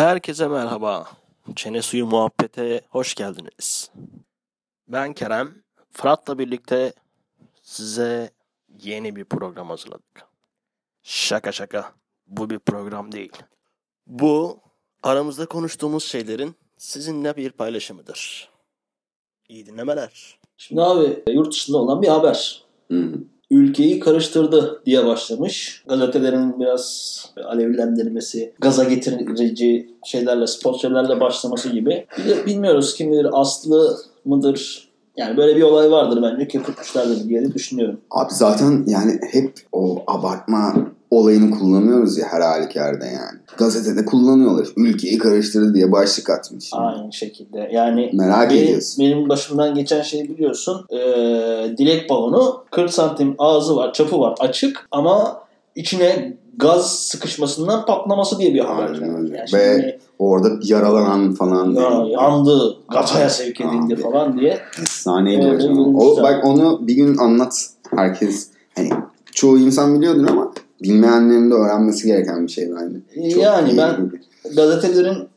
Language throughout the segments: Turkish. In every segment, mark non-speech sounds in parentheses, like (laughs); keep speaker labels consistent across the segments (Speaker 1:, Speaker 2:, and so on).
Speaker 1: Herkese merhaba. Çene Suyu Muhabbete hoş geldiniz. Ben Kerem. Fırat'la birlikte size yeni bir program hazırladık. Şaka şaka. Bu bir program değil. Bu aramızda konuştuğumuz şeylerin sizinle bir paylaşımıdır. İyi dinlemeler. Şimdi abi yurt dışında olan bir haber. ülkeyi karıştırdı diye başlamış. Gazetelerin biraz alevlendirmesi, gaza getirici şeylerle, sponsorlarla başlaması gibi. Bir de bilmiyoruz kim bilir Aslı mıdır? Yani böyle bir olay vardır bence. Köpürtmüşlerdir diye de düşünüyorum.
Speaker 2: Abi zaten yani hep o abartma olayını kullanıyoruz ya her halükarda yani. Gazetede kullanıyorlar. Ülkeyi karıştırdı diye başlık atmış.
Speaker 1: Aynı şekilde. Yani
Speaker 2: Merak
Speaker 1: benim,
Speaker 2: ediyorsun.
Speaker 1: benim başımdan geçen şeyi biliyorsun. Ee, dilek balonu 40 santim ağzı var, çapı var açık ama içine gaz sıkışmasından patlaması diye bir haber.
Speaker 2: Aynen öyle.
Speaker 1: Yani
Speaker 2: Ve-
Speaker 1: şimdi-
Speaker 2: Orada yaralanan falan.
Speaker 1: Ya, yandı, gataya sevk edildi
Speaker 2: Abi.
Speaker 1: falan diye.
Speaker 2: Efsaneydi
Speaker 1: Evet,
Speaker 2: hocam.
Speaker 1: evet,
Speaker 2: O,
Speaker 1: güzel.
Speaker 2: bak onu bir gün anlat. Herkes hani çoğu insan biliyordur ama bilmeyenlerin de öğrenmesi gereken bir şey bence. Çok
Speaker 1: yani
Speaker 2: iyi
Speaker 1: ben
Speaker 2: bir-
Speaker 1: gazetelerin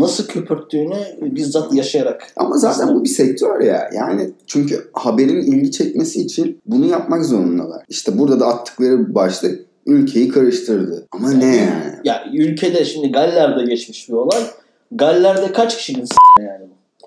Speaker 1: nasıl köpürttüğünü bizzat yaşayarak.
Speaker 2: Ama zaten bu bir sektör ya. Yani çünkü haberin ilgi çekmesi için bunu yapmak zorundalar. İşte burada da attıkları başlık ülkeyi karıştırdı. Ama ne yani?
Speaker 1: Ya ülkede şimdi Galler'de geçmiş bir olay. Galler'de kaç kişinin s- yani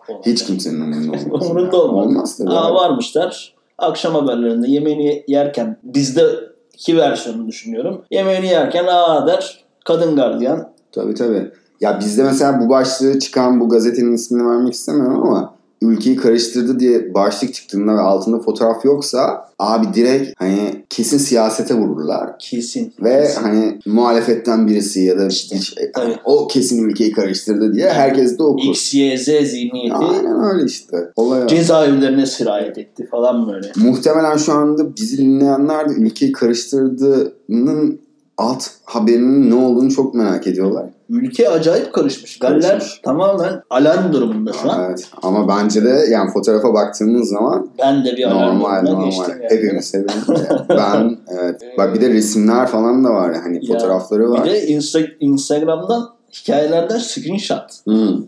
Speaker 1: bu? olay?
Speaker 2: Hiç kimsenin umurunda olmaz.
Speaker 1: (laughs) Umurunda olmaz.
Speaker 2: Olmaz tabii.
Speaker 1: Aa,
Speaker 2: abi.
Speaker 1: varmışlar. Akşam haberlerinde yemeğini yerken bizdeki versiyonunu düşünüyorum. Yemeğini yerken aa der kadın gardiyan.
Speaker 2: Tabii tabii. Ya bizde mesela bu başlığı çıkan bu gazetenin ismini vermek istemiyorum ama ülkeyi karıştırdı diye başlık çıktığında ve altında fotoğraf yoksa abi direkt hani kesin siyasete vururlar.
Speaker 1: Kesin.
Speaker 2: Ve
Speaker 1: Kesin.
Speaker 2: hani muhalefetten birisi ya da
Speaker 1: İşte,
Speaker 2: hiç- e, hani
Speaker 1: tabii.
Speaker 2: o kesin ülkeyi karıştırdı diye herkes de okur.
Speaker 1: X, Y, Z zihniyeti
Speaker 2: Aynen öyle işte. Olay o.
Speaker 1: cezaevlerine sirayet etti falan böyle.
Speaker 2: Muhtemelen şu anda bizi dinleyenler de ülkeyi karıştırdığının alt haberinin ne olduğunu çok merak ediyorlar.
Speaker 1: Ülke acayip karışmış. Galler
Speaker 2: Karışmış.
Speaker 1: tamamen alarm durumunda şu an.
Speaker 2: Evet. Ama bence de yani fotoğrafa baktığımız zaman
Speaker 1: Ben de bir alarm
Speaker 2: normal
Speaker 1: durumuna
Speaker 2: normal.
Speaker 1: geçtim yani.
Speaker 2: Hepimiz hepimiz. yani. ben evet. Bak bir de resimler falan da var. Hani
Speaker 1: Ya,
Speaker 2: fotoğrafları
Speaker 1: Bir
Speaker 2: var.
Speaker 1: de Insta- Instagram'dan hikayelerden screenshot.
Speaker 2: Hı. Hmm.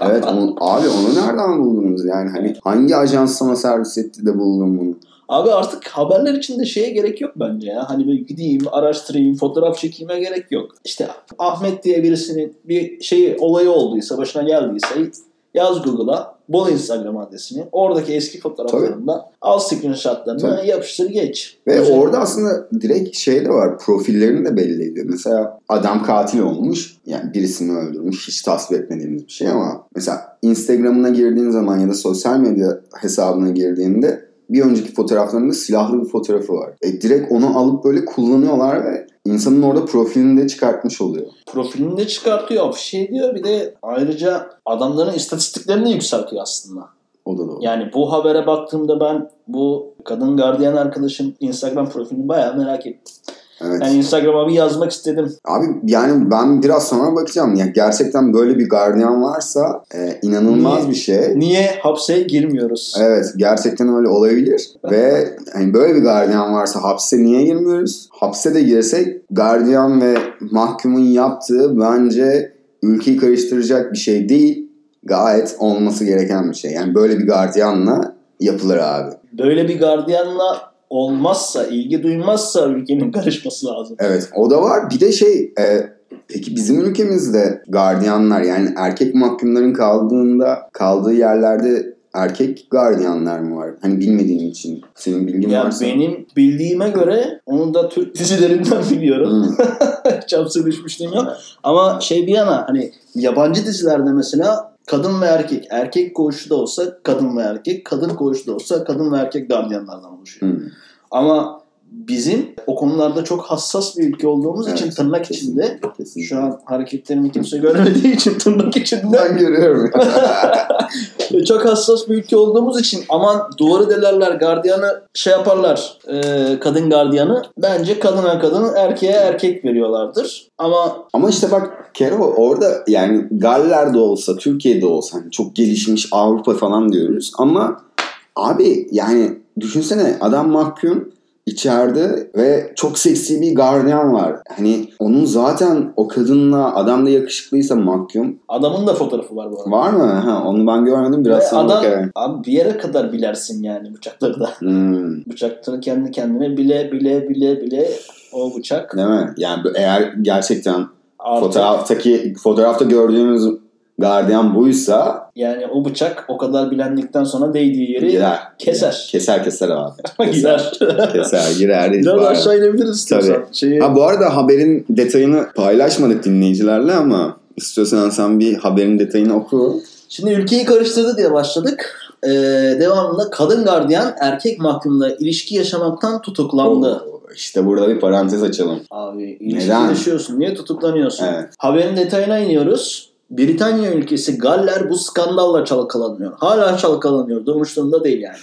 Speaker 2: evet onu- abi onu nereden buldunuz yani hani hangi ajans sana servis etti de buldun bunu?
Speaker 1: Abi artık haberler için de şeye gerek yok bence ya. Hani böyle gideyim, araştırayım, fotoğraf çekeyime gerek yok. İşte Ahmet diye birisinin bir şeyi olayı olduysa, başına geldiyse yaz Google'a bol Instagram adresini. Oradaki eski fotoğraflarından al screenshotlarını
Speaker 2: Tabii.
Speaker 1: yapıştır geç.
Speaker 2: Ve
Speaker 1: Özel-
Speaker 2: orada aslında direkt şey de var. Profillerini de belli ediyor. Mesela adam katil olmuş. Yani birisini öldürmüş. Hiç tasvip etmediğimiz bir şey ama mesela Instagram'ına girdiğin zaman ya da sosyal medya hesabına girdiğinde bir önceki fotoğraflarında silahlı bir fotoğrafı var. E direkt onu alıp böyle kullanıyorlar ve insanın orada profilini de çıkartmış oluyor.
Speaker 1: profilini de çıkartıyor, afişe ediyor. Bir de ayrıca adamların istatistiklerini de yükseltiyor aslında.
Speaker 2: O da doğru.
Speaker 1: Yani bu habere baktığımda ben bu kadın gardiyan arkadaşın Instagram profilini bayağı merak ettim.
Speaker 2: Evet.
Speaker 1: Yani Instagram'a bir yazmak istedim.
Speaker 2: Abi yani ben biraz sonra bakacağım. Ya gerçekten böyle bir gardiyan varsa e, inanılmaz
Speaker 1: Niye?
Speaker 2: bir şey.
Speaker 1: Niye hapse girmiyoruz?
Speaker 2: Evet gerçekten öyle olabilir ve hani böyle bir gardiyan varsa hapse niye girmiyoruz? Hapse de girsek gardiyan ve mahkumun yaptığı bence ülkeyi karıştıracak bir şey değil. Gayet olması gereken bir şey. Yani böyle bir gardiyanla yapılır abi.
Speaker 1: Böyle bir gardiyanla olmazsa, ilgi duymazsa ülkenin karışması lazım.
Speaker 2: Evet o da var. Bir de şey e, peki bizim ülkemizde gardiyanlar yani erkek mahkumların kaldığında kaldığı yerlerde erkek gardiyanlar mı var? Hani bilmediğim için senin bilgin
Speaker 1: Ya
Speaker 2: varsa.
Speaker 1: benim bildiğime göre onu da Türk dizilerinden biliyorum.
Speaker 2: Hı.
Speaker 1: Hiç hapse düşmüşlüğüm yok. Ama şey bir yana hani yabancı dizilerde mesela kadın ve erkek, erkek koğuşu da olsa kadın ve erkek, kadın koğuşu da olsa kadın ve erkek gardiyanlardan oluşuyor.
Speaker 2: Hı.
Speaker 1: Ama bizim o konularda çok hassas bir ülke olduğumuz
Speaker 2: Evet,
Speaker 1: için tırnak içinde
Speaker 2: Kesinlikle.
Speaker 1: şu an hareketlerimi kimse görmediği için tırnak içinde (laughs)
Speaker 2: ben görüyorum.
Speaker 1: çok hassas bir ülke olduğumuz için aman duvarı delerler gardiyanı şey yaparlar e, kadın gardiyanı bence kadına kadın erkeğe erkek veriyorlardır ama
Speaker 2: Ama işte bak Kero orada yani Galler'de olsa Türkiye'de olsa hani çok gelişmiş Avrupa falan diyoruz ama abi yani düşünsene adam mahkum içeride ve çok seksi bir gardiyan var. Hani onun zaten o kadınla adam da yakışıklıysa mahkum.
Speaker 1: Adamın da fotoğrafı var bu arada.
Speaker 2: Var mı? Ha, onu ben görmedim. Biraz
Speaker 1: Ve
Speaker 2: sonra
Speaker 1: adam,
Speaker 2: bakarım.
Speaker 1: abi bir yere kadar bilersin yani bıçakları da.
Speaker 2: Hmm.
Speaker 1: (laughs) Bıçakları kendi kendine bile bile bile bile o bıçak
Speaker 2: Değil mi? Yani bu- eğer gerçekten
Speaker 1: artık
Speaker 2: fotoğraftaki fotoğrafta gördüğümüz gardiyan buysa
Speaker 1: yani o bıçak o kadar bilendikten sonra değdiği yeri
Speaker 2: girer.
Speaker 1: keser.
Speaker 2: Keser keser abi.
Speaker 1: (laughs) Gider. (laughs)
Speaker 2: Keser girer.
Speaker 1: Biraz
Speaker 2: izler.
Speaker 1: aşağı inebiliriz
Speaker 2: Tabii.
Speaker 1: istiyorsan. Şeyi...
Speaker 2: Ha bu arada haberin detayını paylaşmadık dinleyicilerle ama istiyorsan sen bir haberin detayını oku.
Speaker 1: Şimdi ülkeyi karıştırdı diye başladık. Ee, devamında kadın gardiyan erkek mahkumla ilişki yaşamaktan tutuklandı.
Speaker 2: Oo, İşte burada bir parantez açalım.
Speaker 1: Abi ilişki
Speaker 2: Neden?
Speaker 1: yaşıyorsun. Niye tutuklanıyorsun?
Speaker 2: Evet.
Speaker 1: Haberin detayına iniyoruz. Britanya ülkesi Galler bu skandalla çalkalanıyor. Hala çalkalanıyor. Durmuş durumda değil yani.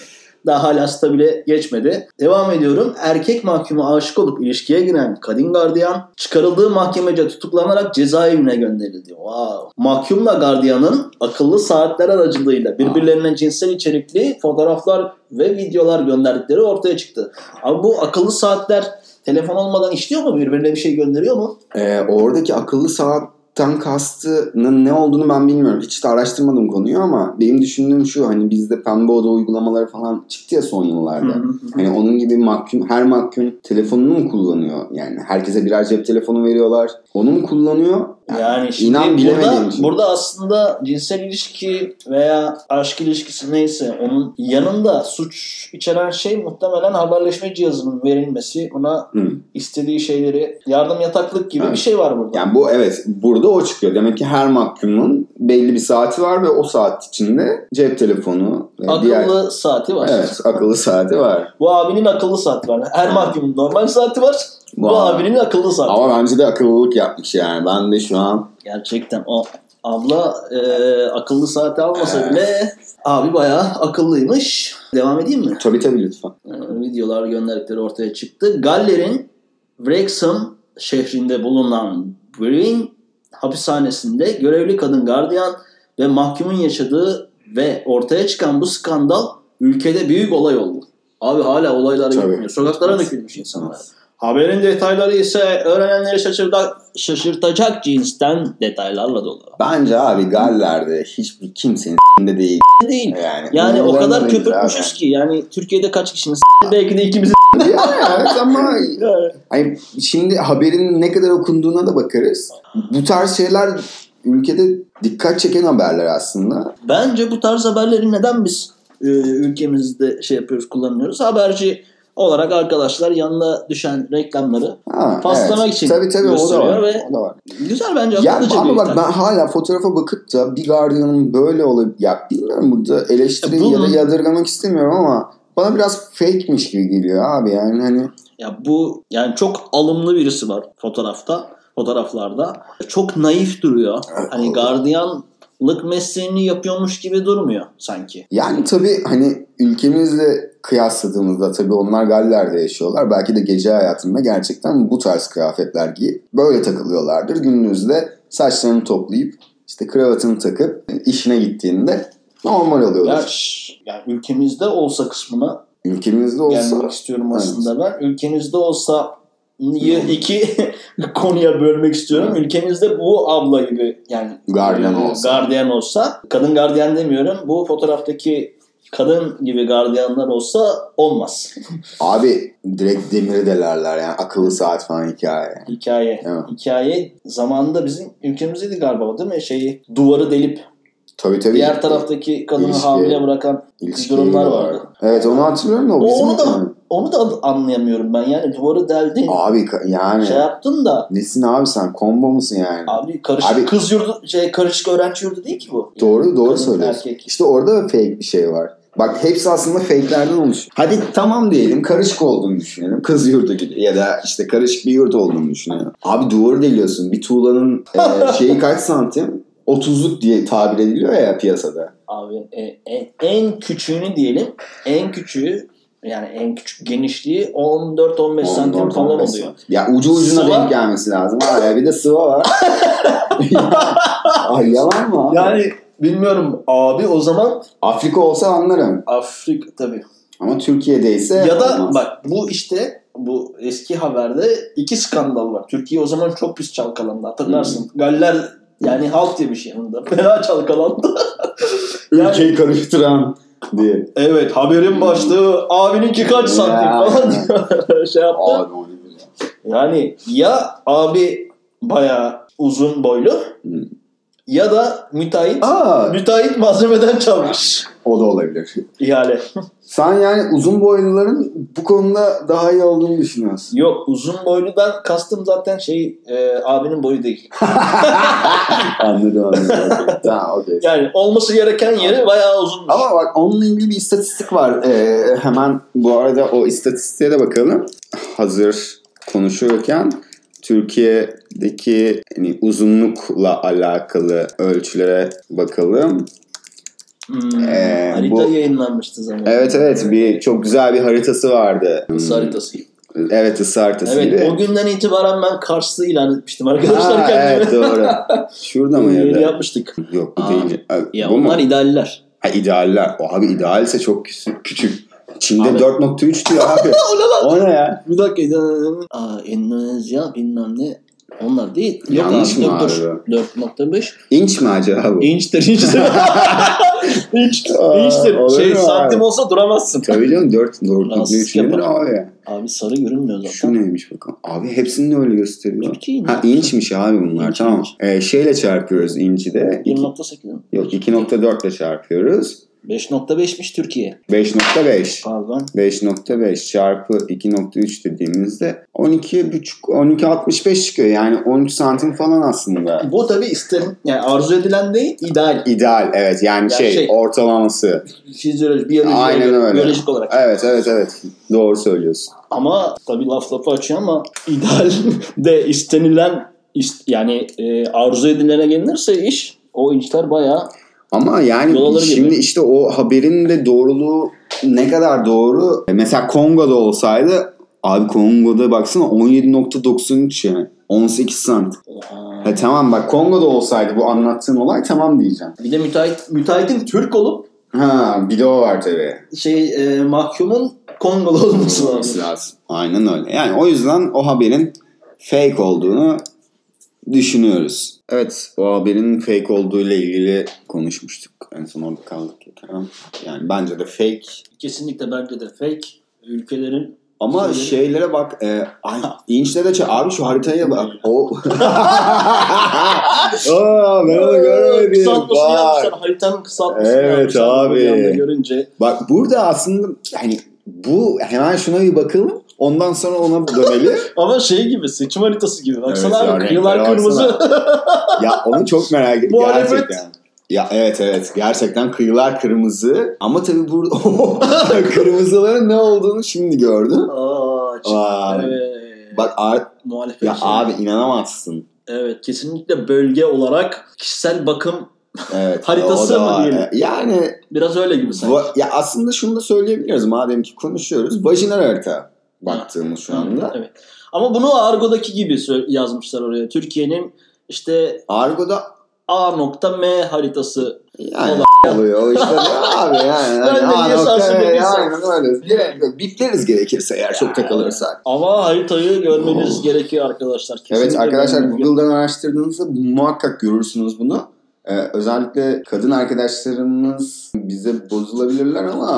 Speaker 1: Daha hala stabile geçmedi. Devam ediyorum. Erkek mahkumu aşık olup ilişkiye giren kadın gardiyan çıkarıldığı mahkemece tutuklanarak cezaevine gönderildi. Wow. Mahkumla gardiyanın akıllı saatler aracılığıyla birbirlerine cinsel içerikli fotoğraflar ve videolar gönderdikleri ortaya çıktı. Abi bu akıllı saatler telefon olmadan işliyor mu? Birbirine bir şey gönderiyor mu?
Speaker 2: Ee, oradaki akıllı saatten kastının ne olduğunu ben bilmiyorum. Hiç de araştırmadım konuyu ama benim düşündüğüm şu hani bizde pembe oda uygulamaları falan çıktı ya son yıllarda. Hani onun gibi mahkum, her mahkum telefonunu mu kullanıyor? Yani herkese birer cep telefonu veriyorlar. Onu mu kullanıyor?
Speaker 1: Yani şimdi
Speaker 2: inan bilemediğim
Speaker 1: burada,
Speaker 2: için.
Speaker 1: burada aslında cinsel ilişki veya aşk ilişkisi neyse onun yanında suç içeren şey muhtemelen haberleşme cihazının verilmesi. Ona
Speaker 2: Hı.
Speaker 1: istediği şeyleri yardım yataklık gibi
Speaker 2: Evet.
Speaker 1: bir şey var burada.
Speaker 2: Yani bu evet burada o çıkıyor. Demek ki her mahkumun belli bir saati var ve o saat içinde cep telefonu ve
Speaker 1: akıllı
Speaker 2: diğer
Speaker 1: saati var.
Speaker 2: evet akıllı saati var.
Speaker 1: Bu abinin akıllı saati var. Her mahkumun normal saati var. Bu,
Speaker 2: Bu abi-
Speaker 1: abinin akıllı saati var.
Speaker 2: Ama bence de akıllılık yapmış yani. Ben de şu an
Speaker 1: Gerçekten o abla e, akıllı saati almasa
Speaker 2: Evet.
Speaker 1: bile abi bayağı akıllıymış. Devam edeyim mi?
Speaker 2: tabii tabii lütfen.
Speaker 1: Ee, videolar gönderdikleri ortaya çıktı. Galler'in Wrexham şehrinde bulunan Breen hapishanesinde görevli kadın gardiyan ve mahkumun yaşadığı ve ortaya çıkan bu skandal ülkede büyük olay oldu. Abi hala olaylar
Speaker 2: Tabii.
Speaker 1: gitmiyor. Sokaklara dökülmüş insanlar. Haberin detayları ise öğrenenleri şaşırda- şaşırtacak cinsten detaylarla dolu.
Speaker 2: Bence abi Galler'de hiçbir kimsenin de değil.
Speaker 1: Değil.
Speaker 2: Yani,
Speaker 1: Yani o
Speaker 2: Bunların da
Speaker 1: kadar
Speaker 2: değil
Speaker 1: köpürtmüşüz
Speaker 2: abi.
Speaker 1: ki yani Türkiye'de kaç kişinin s- belki de (laughs) ikimizin
Speaker 2: Ya, evet ama Hani şimdi haberin ne kadar okunduğuna da bakarız. Bu tarz şeyler ülkede dikkat çeken haberler aslında.
Speaker 1: Bence bu tarz haberleri neden biz e, ülkemizde şey yapıyoruz, kullanıyoruz? Haberci olarak arkadaşlar yanına düşen reklamları
Speaker 2: Ha,
Speaker 1: Paslamak
Speaker 2: evet.
Speaker 1: için
Speaker 2: Tabii tabii o da var.
Speaker 1: gösteriyor ve-
Speaker 2: O da var.
Speaker 1: güzel bence
Speaker 2: Ya
Speaker 1: akıllıca
Speaker 2: ama
Speaker 1: bir
Speaker 2: bak
Speaker 1: yöntem.
Speaker 2: ben hala fotoğrafa bakıp da bir gardiyanın böyle olup ya bilmiyorum burada eleştiri
Speaker 1: Ya bu-
Speaker 2: ya da yadırgamak istemiyorum ama bana biraz fake'miş gibi geliyor abi yani hani
Speaker 1: Ya bu yani çok alımlı birisi var fotoğrafta, fotoğraflarda. Çok naif duruyor. Hani gardiyanlık mesleğini yapıyormuş gibi durmuyor sanki.
Speaker 2: yani tabii hani ülkemizle kıyasladığımızda tabii onlar Galler'de yaşıyorlar. Belki de gece hayatında gerçekten bu tarz kıyafetler giyip böyle takılıyorlardır. Gündüzde saçlarını toplayıp işte kravatını takıp işine gittiğinde normal oluyorlar.
Speaker 1: Ya, şş, yani ülkemizde olsa kısmına
Speaker 2: Ülkemizde olsa
Speaker 1: gelmek istiyorum
Speaker 2: Evet. Hmm.
Speaker 1: aslında ben. Ülkenizde olsa y- iki (laughs) konuya bölmek istiyorum. Ülkemizde bu abla gibi yani
Speaker 2: Gardiyan
Speaker 1: e,
Speaker 2: olsa.
Speaker 1: gardiyan olsa kadın gardiyan demiyorum. Bu fotoğraftaki kadın gibi gardiyanlar olsa
Speaker 2: (laughs)
Speaker 1: olmaz.
Speaker 2: Abi direkt demiri delerler yani akıllı saat falan hikaye.
Speaker 1: Hikaye.
Speaker 2: Evet.
Speaker 1: Hikaye zamanında bizim ülkemizdeydi galiba değil mi? Şeyi duvarı delip
Speaker 2: Tabii tabii.
Speaker 1: diğer taraftaki kadını
Speaker 2: İlişki.
Speaker 1: hamile bırakan
Speaker 2: İlişki
Speaker 1: durumlar
Speaker 2: var.
Speaker 1: vardı.
Speaker 2: Evet onu hatırlıyorum da o,
Speaker 1: O,
Speaker 2: bizim
Speaker 1: onu da
Speaker 2: hikaye.
Speaker 1: onu da anlayamıyorum ben. Yani duvarı deldin.
Speaker 2: Abi ka- yani
Speaker 1: şey yaptın da
Speaker 2: nesin abi sen kombo musun yani?
Speaker 1: Abi karışık
Speaker 2: Abi-
Speaker 1: kız yurdu, şey, karışık öğrenci yurdu değil ki bu.
Speaker 2: doğru doğru
Speaker 1: Kadın,
Speaker 2: söylüyorsun.
Speaker 1: erkek.
Speaker 2: İşte orada da fake bir şey var. Bak hepsi aslında fake'lerden olmuş. Hadi tamam diyelim karışık olduğunu düşünelim. Kız yurdu gibi ya da işte karışık bir yurt olduğunu düşünelim. Abi duvarı deliyorsun. Bir tuğlanın
Speaker 1: (laughs)
Speaker 2: e, şeyi kaç santim? 30'luk diye tabir ediliyor ya piyasada.
Speaker 1: Abi e, e, en küçüğünü diyelim. En küçüğü yani en küçük genişliği 14-15 santim
Speaker 2: 14,
Speaker 1: falan
Speaker 2: 15
Speaker 1: oluyor.
Speaker 2: santim. Ya ucu ucuna
Speaker 1: Sıva-
Speaker 2: denk gelmesi lazım. Araya bir de sıva
Speaker 1: (laughs)
Speaker 2: var. Ay yalan mı? abi?
Speaker 1: Yani bilmiyorum abi o zaman
Speaker 2: Afrika olsa anlarım.
Speaker 1: Afrika tabii.
Speaker 2: Ama Türkiye'de ise
Speaker 1: Ya da
Speaker 2: olmaz.
Speaker 1: bak bu işte bu eski haberde iki skandal var. Türkiye o zaman çok pis çalkalandı hatırlarsın. Galler yani halk demiş yanında. (laughs) Fena çalkalandı. Yani-
Speaker 2: Ülkeyi karıştıran diye.
Speaker 1: evet haberin başlığı abininki kaç santim
Speaker 2: Hmm. Ya.
Speaker 1: falan diyor. (laughs) şey yaptı.
Speaker 2: Abi o ne güzel.
Speaker 1: Yani ya abi bayağı uzun boylu
Speaker 2: Hı.
Speaker 1: ya da müteahhit
Speaker 2: Hmm. Aa,
Speaker 1: müteahhit malzemeden çalmış.
Speaker 2: o da olabilir.
Speaker 1: İhale.
Speaker 2: Sen yani uzun boyluların bu konuda daha iyi olduğunu düşünüyorsun.
Speaker 1: Yok uzun boyludan kastım zaten şey e, abinin boyu değil.
Speaker 2: anladım anladım. (laughs) tamam okey.
Speaker 1: Yani olması gereken yeri bayağı uzunmuş.
Speaker 2: Ama bak onunla ilgili bir istatistik var. Ee, hemen bu arada o istatistiğe de bakalım. Hazır konuşuyorken Türkiye'deki hani uzunlukla alakalı ölçülere bakalım.
Speaker 1: Hmm,
Speaker 2: Ee,
Speaker 1: harita
Speaker 2: bu-
Speaker 1: yayınlanmıştı zaten.
Speaker 2: Evet evet bir çok güzel bir haritası vardı.
Speaker 1: Kars haritası.
Speaker 2: Evet ısı haritası
Speaker 1: Evet
Speaker 2: gibi.
Speaker 1: o günden itibaren ben Karslı ilan etmiştim arkadaşlar
Speaker 2: Ha,
Speaker 1: kendime. (laughs)
Speaker 2: evet doğru. Şurada mı ya
Speaker 1: Yeri
Speaker 2: da?
Speaker 1: yapmıştık.
Speaker 2: Yok bu
Speaker 1: Aa,
Speaker 2: değil. Ha,
Speaker 1: Ya
Speaker 2: bu mu?
Speaker 1: onlar idealler.
Speaker 2: Ha, idealler. O abi idealse çok küçük. küçük. Çin'de
Speaker 1: Abi.
Speaker 2: 4.3 diyor abi. o ne ya?
Speaker 1: Bir dakika. ideal- Aa, Endonezya bilmem ne. Onlar değil. Yok
Speaker 2: Yanlış
Speaker 1: abi,
Speaker 2: mı
Speaker 1: doktor.
Speaker 2: abi
Speaker 1: 4.5.
Speaker 2: İnç mi acaba bu?
Speaker 1: İnçtir,
Speaker 2: (laughs)
Speaker 1: inçtir. İnç,
Speaker 2: Aa,
Speaker 1: inçtir.
Speaker 2: olur
Speaker 1: Şey,
Speaker 2: mu abi?
Speaker 1: santim olsa duramazsın.
Speaker 2: Tabii canım 4
Speaker 1: Rahatsızlık
Speaker 2: 4.3 nedir
Speaker 1: yapar.
Speaker 2: abi?
Speaker 1: Abi sarı görünmüyor zaten.
Speaker 2: Şu neymiş bakalım. Abi hepsini de öyle gösteriyor.
Speaker 1: Türkiye'yi ne
Speaker 2: Ha inçmiş abi bunlar
Speaker 1: İnç,
Speaker 2: tamam.
Speaker 1: inç.
Speaker 2: Ee, şeyle çarpıyoruz inci de. İki-
Speaker 1: 1.8 mi?
Speaker 2: yok 2.4 ile çarpıyoruz.
Speaker 1: 5.5'miş Türkiye.
Speaker 2: 5.5.
Speaker 1: Pardon.
Speaker 2: 5.5 çarpı 2.3 dediğimizde 12.5 12.65 çıkıyor. Yani 13 santim falan aslında.
Speaker 1: Bu tabii isten, yani arzu edilen değil, ideal.
Speaker 2: İdeal evet yani şey,
Speaker 1: şey-
Speaker 2: ortalaması.
Speaker 1: Fizyoloji, biyoloji,
Speaker 2: Aynen
Speaker 1: biyoloji-
Speaker 2: öyle.
Speaker 1: biyolojik olarak.
Speaker 2: Evet evet evet doğru söylüyorsun.
Speaker 1: Ama tabii laf lafı açıyor ama (laughs) ideal de istenilen, ist- yani e, arzu edilene gelinirse iş, o inçler bayağı
Speaker 2: Ama yani
Speaker 1: Yolaları gibi.
Speaker 2: şimdi işte o haberin de doğruluğu ne kadar doğru. E, Mesela Kongo'da olsaydı abi Kongo'da baksana 17.93 yani 18 sant.
Speaker 1: Oha.
Speaker 2: Ha, E, tamam bak Kongo'da olsaydı bu anlattığın olay tamam diyeceğim.
Speaker 1: Bir de müteahhit, müteahhitin Türk olup
Speaker 2: Ha bir de o var tabii.
Speaker 1: şey e, mahkumun Kongolu olması
Speaker 2: olması
Speaker 1: lazım.
Speaker 2: lazım. Aynen öyle. Yani o yüzden o haberin fake olduğunu düşünüyoruz. Evet o haberin fake olduğu ile ilgili konuşmuştuk. En son orada kaldık. Yani bence de fake.
Speaker 1: Kesinlikle bence de fake ülkelerin
Speaker 2: Ama
Speaker 1: Şöyle-
Speaker 2: şeylere bak. E, ay, inçle de çe- Abi şu haritaya bak. O... (laughs) Aa, ben onu görmedim.
Speaker 1: kısaltmasını
Speaker 2: Bak.
Speaker 1: yapmışlar. Haritanın kısaltmasını
Speaker 2: Evet
Speaker 1: yapmışlar.
Speaker 2: abi.
Speaker 1: Bir anda görünce
Speaker 2: Bak burada aslında yani bu hemen şuna bir bakalım. Ondan sonra ona dönelim.
Speaker 1: (laughs) ama şey gibi seçim haritası gibi. Baksana
Speaker 2: Evet ya,
Speaker 1: abi kıyılar
Speaker 2: renklere
Speaker 1: kırmızı.
Speaker 2: ya onu çok merak ettim
Speaker 1: Muhalefet.
Speaker 2: gerçekten. Ya evet evet gerçekten kıyılar kırmızı ama tabii burada (laughs) kırmızıların ne olduğunu şimdi gördüm.
Speaker 1: (laughs) Aa, çık-
Speaker 2: Aa,
Speaker 1: Evet.
Speaker 2: Bak ar-
Speaker 1: muhalefet.
Speaker 2: ya
Speaker 1: şey.
Speaker 2: abi inanamazsın.
Speaker 1: Evet kesinlikle bölge olarak kişisel bakım
Speaker 2: Evet.
Speaker 1: Haritası
Speaker 2: o da
Speaker 1: mı
Speaker 2: var. E,
Speaker 1: diyelim?
Speaker 2: Yani
Speaker 1: biraz öyle gibi sanki.
Speaker 2: va- ya aslında şunu da söyleyebiliriz madem ki konuşuyoruz. Vajinal harita baktığımız şu anda.
Speaker 1: Evet. Ama bunu argodaki gibi sö- yazmışlar oraya. Türkiye'nin işte
Speaker 2: Argo'da
Speaker 1: A.M haritası
Speaker 2: yani oluyor. O
Speaker 1: (laughs)
Speaker 2: işte abi yani.
Speaker 1: Ben de niye
Speaker 2: Hani, aa, nokta,
Speaker 1: sarsıldım,
Speaker 2: aynen öyle. Direkt Bipleriz gerekirse eğer çok takılırsak.
Speaker 1: Ama haritayı görmeniz gerekiyor arkadaşlar.
Speaker 2: Evet
Speaker 1: Kesinlikle
Speaker 2: arkadaşlar
Speaker 1: görmeniz
Speaker 2: Google'dan araştırdığınızda muhakkak görürsünüz bunu. Ee, özellikle kadın arkadaşlarımız bize bozulabilirler ama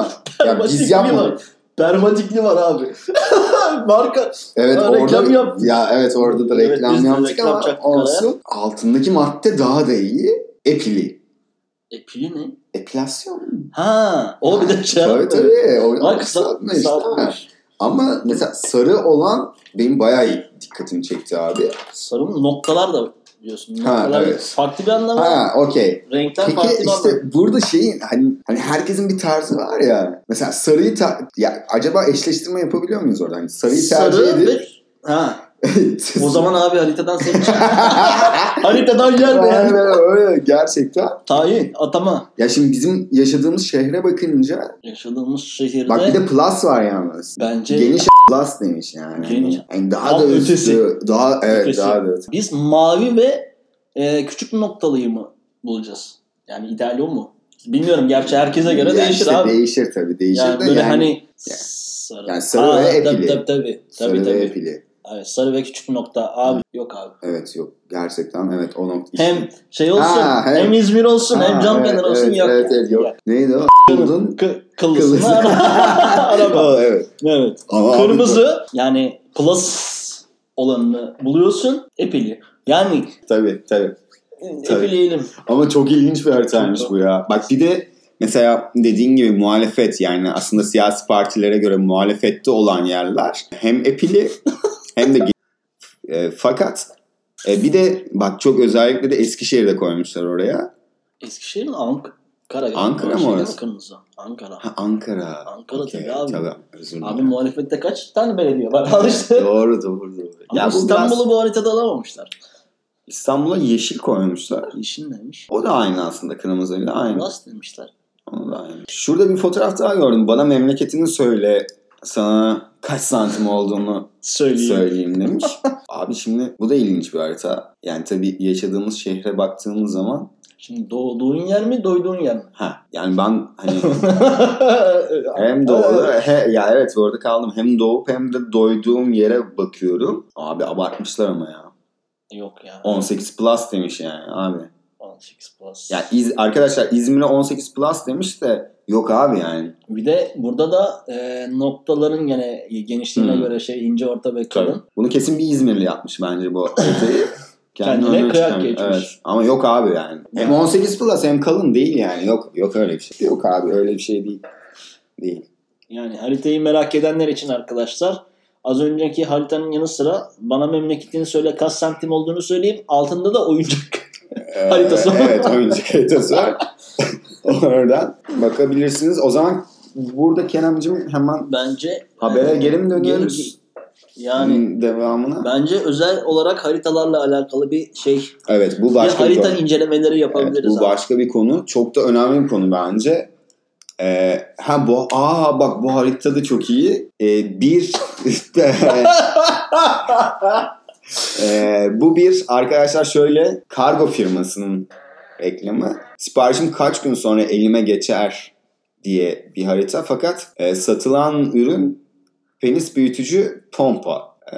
Speaker 2: ya biz
Speaker 1: Permatikli
Speaker 2: yapmadık.
Speaker 1: var. Permatikli var abi. (laughs) Marka.
Speaker 2: Evet
Speaker 1: Aa,
Speaker 2: orada
Speaker 1: reklam yaptık.
Speaker 2: ya evet orada da
Speaker 1: Evet,
Speaker 2: reklam
Speaker 1: biz de
Speaker 2: yaptık
Speaker 1: reklam
Speaker 2: ama
Speaker 1: çaktık
Speaker 2: olsun. Altındaki madde daha da iyi. Epili.
Speaker 1: E pili ne?
Speaker 2: Epilasyon.
Speaker 1: Ha, o bir de şey.
Speaker 2: Tabii tabii. O,
Speaker 1: Bak
Speaker 2: kısaltma
Speaker 1: kısa-
Speaker 2: işte.
Speaker 1: kısaltmış.
Speaker 2: Ama mesela sarı olan benim bayağı iyi dikkatimi çekti abi.
Speaker 1: Sarım noktalar da biliyorsun.
Speaker 2: Ha,
Speaker 1: Noktalar
Speaker 2: evet.
Speaker 1: farklı bir anlamı var.
Speaker 2: Ha okey.
Speaker 1: Renkler farklı
Speaker 2: Peki
Speaker 1: bir
Speaker 2: işte
Speaker 1: anlamı.
Speaker 2: burada şeyin hani, hani herkesin bir tarzı var ya. Mesela sarıyı ta- ya acaba eşleştirme yapabiliyor muyuz orada? Hani sarıyı tercih
Speaker 1: Sarı
Speaker 2: (laughs) edip
Speaker 1: ve... Ha, o zaman abi haritadan seç.
Speaker 2: (laughs)
Speaker 1: haritadan yer be.
Speaker 2: Aynen
Speaker 1: yani.
Speaker 2: öyle gerçekten.
Speaker 1: Tayin, atama.
Speaker 2: Ya şimdi bizim yaşadığımız şehre bakınca
Speaker 1: Yaşadığımız şehirde
Speaker 2: bak bir de plus var yalnız.
Speaker 1: bence
Speaker 2: Geniş plus demiş yani.
Speaker 1: Şey- Geniş.
Speaker 2: Yani daha
Speaker 1: Tam
Speaker 2: da
Speaker 1: ötesi.
Speaker 2: üstü, daha evet
Speaker 1: Ötesi.
Speaker 2: daha da ötesi.
Speaker 1: Biz mavi ve e, küçük noktalıyı mı bulacağız? Yani ideal o mu? Bilmiyorum. Gerçi herkese göre
Speaker 2: Yani
Speaker 1: değişir
Speaker 2: işte
Speaker 1: abi.
Speaker 2: Değişir tabii değişir
Speaker 1: yani
Speaker 2: de
Speaker 1: böyle
Speaker 2: yani.
Speaker 1: hani
Speaker 2: Ya.
Speaker 1: Sarı.
Speaker 2: Yani sarı ve
Speaker 1: Tabii
Speaker 2: epili.
Speaker 1: tabii tabii.
Speaker 2: Sarı
Speaker 1: Tabii,
Speaker 2: ve
Speaker 1: tabii.
Speaker 2: epili.
Speaker 1: Evet, sarı ve küçük nokta. Abi yok abi.
Speaker 2: Evet yok. Gerçekten evet o nokta. işte.
Speaker 1: Hem şey olsun,
Speaker 2: Ha,
Speaker 1: hem,
Speaker 2: hem-
Speaker 1: İzmir olsun, hem
Speaker 2: Ha,
Speaker 1: Cam
Speaker 2: evet,
Speaker 1: Fener olsun
Speaker 2: evet,
Speaker 1: yok.
Speaker 2: Evet,
Speaker 1: yani.
Speaker 2: evet, yok.
Speaker 1: Yani.
Speaker 2: Neydi o? Kırmızı.
Speaker 1: Kı- kıllısını (laughs) ara-
Speaker 2: (laughs)
Speaker 1: arama.
Speaker 2: Aa, evet.
Speaker 1: Evet.
Speaker 2: Ama abi-
Speaker 1: Kırmızı yani plus olanını buluyorsun. Epili. Yani
Speaker 2: Tabii tabii. Tabii.
Speaker 1: epileyelim.
Speaker 2: Ama çok ilginç bir haritaymış
Speaker 1: Çok.
Speaker 2: bu ya. Bak bir de mesela dediğin gibi muhalefet yani aslında siyasi partilere göre muhalefette olan yerler hem
Speaker 1: (laughs)
Speaker 2: epili hem de ge- E, fakat e, bir de bak çok özellikle de Eskişehir'de koymuşlar oraya.
Speaker 1: Eskişehir'in Ankara. galiba.
Speaker 2: Ankara mı
Speaker 1: Şey değil
Speaker 2: orası?
Speaker 1: Kırmızı. Ankara.
Speaker 2: Ha, Ankara.
Speaker 1: Ankara
Speaker 2: Okey,
Speaker 1: tabii abi.
Speaker 2: Özür dilerim.
Speaker 1: Abi muhalefette kaç tane belediye var? (laughs) Al işte.
Speaker 2: doğru doğru doğru.
Speaker 1: Ama
Speaker 2: bu
Speaker 1: İstanbul'u
Speaker 2: biraz-
Speaker 1: bu haritada alamamışlar.
Speaker 2: İstanbul'a yeşil koymuşlar.
Speaker 1: İşin neymiş?
Speaker 2: O da aynı aslında kırmızıyla aynı.
Speaker 1: Las demişler.
Speaker 2: Onu da aynı. Şurada bir fotoğraf daha gördüm. Bana memleketini söyle. Sana kaç santim olduğunu
Speaker 1: Söyleyeyim.
Speaker 2: söyleyeyim demiş. Abi şimdi bu da ilginç bir harita. Yani tabii yaşadığımız şehre baktığımız zaman
Speaker 1: Şimdi doğduğun yer mi, doyduğun yer mi?
Speaker 2: ha yani ben hani hem doğu he, ya evet bu arada kaldım. Hem doğup hem de doyduğum yere bakıyorum. Abi abartmışlar ama ya.
Speaker 1: Yok ya.
Speaker 2: 18 plus demiş yani abi.
Speaker 1: 18 plus.
Speaker 2: Ya İz- arkadaşlar İzmir'e 18 plus demiş de yok abi yani.
Speaker 1: Bir de burada da e, noktaların gene genişliğine
Speaker 2: Hmm.
Speaker 1: göre şey ince orta ve kalın.
Speaker 2: Bunu kesin bir İzmirli yapmış
Speaker 1: (coughs)
Speaker 2: bence bu haritayı.
Speaker 1: Kendine
Speaker 2: önüne
Speaker 1: kıyak
Speaker 2: çıkarmış.
Speaker 1: geçmiş.
Speaker 2: Evet. Ama yok abi yani. Hem 18 plus hem kalın değil yani. Yok yok öyle bir şey. Yok abi öyle bir şey değil. Değil.
Speaker 1: Yani haritayı merak edenler için arkadaşlar az önceki haritanın yanı sıra bana memleketini söyle kaç santim olduğunu söyleyeyim. Altında da oyuncak. (laughs)
Speaker 2: Ee,
Speaker 1: Haritası.
Speaker 2: evet oyuncak
Speaker 1: (laughs)
Speaker 2: haritası var. Oradan bakabilirsiniz. O zaman burada Kerem'cim hemen
Speaker 1: Bence
Speaker 2: habere
Speaker 1: e,
Speaker 2: geri mi dönüyoruz? Hmm.
Speaker 1: Yani
Speaker 2: devamına.
Speaker 1: bence özel olarak haritalarla alakalı bir şey
Speaker 2: Evet bu
Speaker 1: bir
Speaker 2: başka bir
Speaker 1: harita
Speaker 2: konu.
Speaker 1: incelemeleri
Speaker 2: Evet,
Speaker 1: yapabiliriz.
Speaker 2: bu
Speaker 1: abi.
Speaker 2: başka bir konu. Çok da önemli bir konu bence. Ee, ha bu aa bak bu harita da çok iyi. Ee, bir (laughs) Ee, bu bir arkadaşlar şöyle kargo firmasının reklamı. Siparişim kaç gün sonra elime geçer diye bir harita fakat e, satılan ürün penis büyütücü pompa. Ee,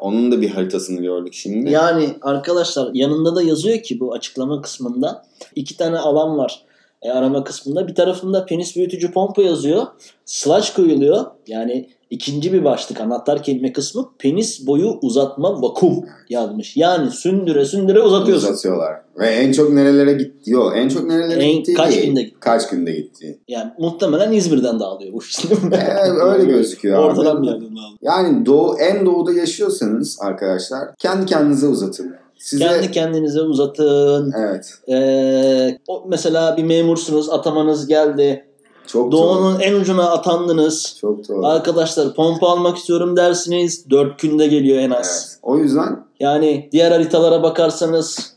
Speaker 2: onun da bir haritasını gördük şimdi.
Speaker 1: Yani arkadaşlar yanında da yazıyor ki bu açıklama kısmında iki tane alan var e, arama kısmında. Bir tarafında penis büyütücü pompa yazıyor. Slash koyuluyor. Yani ikinci bir başlık anahtar kelime kısmı penis boyu uzatma vakum yazmış. Yani sündüre sündüre uzatıyorsun.
Speaker 2: Uzatıyorlar. Ve en çok nerelere gitti? Yok en çok nerelere
Speaker 1: En-
Speaker 2: gitti
Speaker 1: kaç
Speaker 2: değil.
Speaker 1: günde gitti?
Speaker 2: Kaç günde gitti?
Speaker 1: Yani muhtemelen İzmir'den dağılıyor bu işte.
Speaker 2: Ee,
Speaker 1: (laughs)
Speaker 2: öyle gözüküyor abi.
Speaker 1: Ortadan bir yerden dağılıyor.
Speaker 2: Yani doğu, en doğuda yaşıyorsanız arkadaşlar kendi kendinize uzatın. Size
Speaker 1: Kendi kendinize uzatın.
Speaker 2: evet.
Speaker 1: Ee, o- mesela bir memursunuz atamanız geldi.
Speaker 2: Çok doğru.
Speaker 1: Doğunun en ucuna atandınız.
Speaker 2: Çok doğru.
Speaker 1: Arkadaşlar pompa almak istiyorum dersiniz 4 günde geliyor en az.
Speaker 2: Evet. O yüzden
Speaker 1: Yani diğer haritalara bakarsanız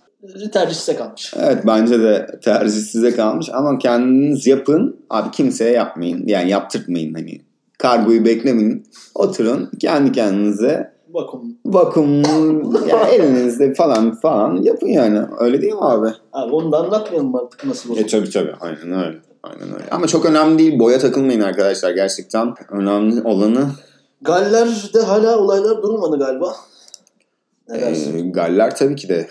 Speaker 1: tercih size kalmış.
Speaker 2: evet bence de tercih size kalmış ama kendiniz yapın. Abi kimseye yapmayın. Yani yaptırtmayın hani. Kargoyu beklemeyin. Oturun kendi kendinize
Speaker 1: Bakın
Speaker 2: vakum
Speaker 1: (laughs)
Speaker 2: yani elinizde falan falan yapın yani. Öyle değil mi abi?
Speaker 1: abi onu da anlatmayalım artık nasıl olur.
Speaker 2: E tabii tabii aynen öyle. Aynen öyle. Ama çok önemli değil. Boya takılmayın arkadaşlar gerçekten. Önemli olanı
Speaker 1: Galler'de hala olaylar durmadı galiba. Ne dersin?
Speaker 2: e, galler tabii ki de.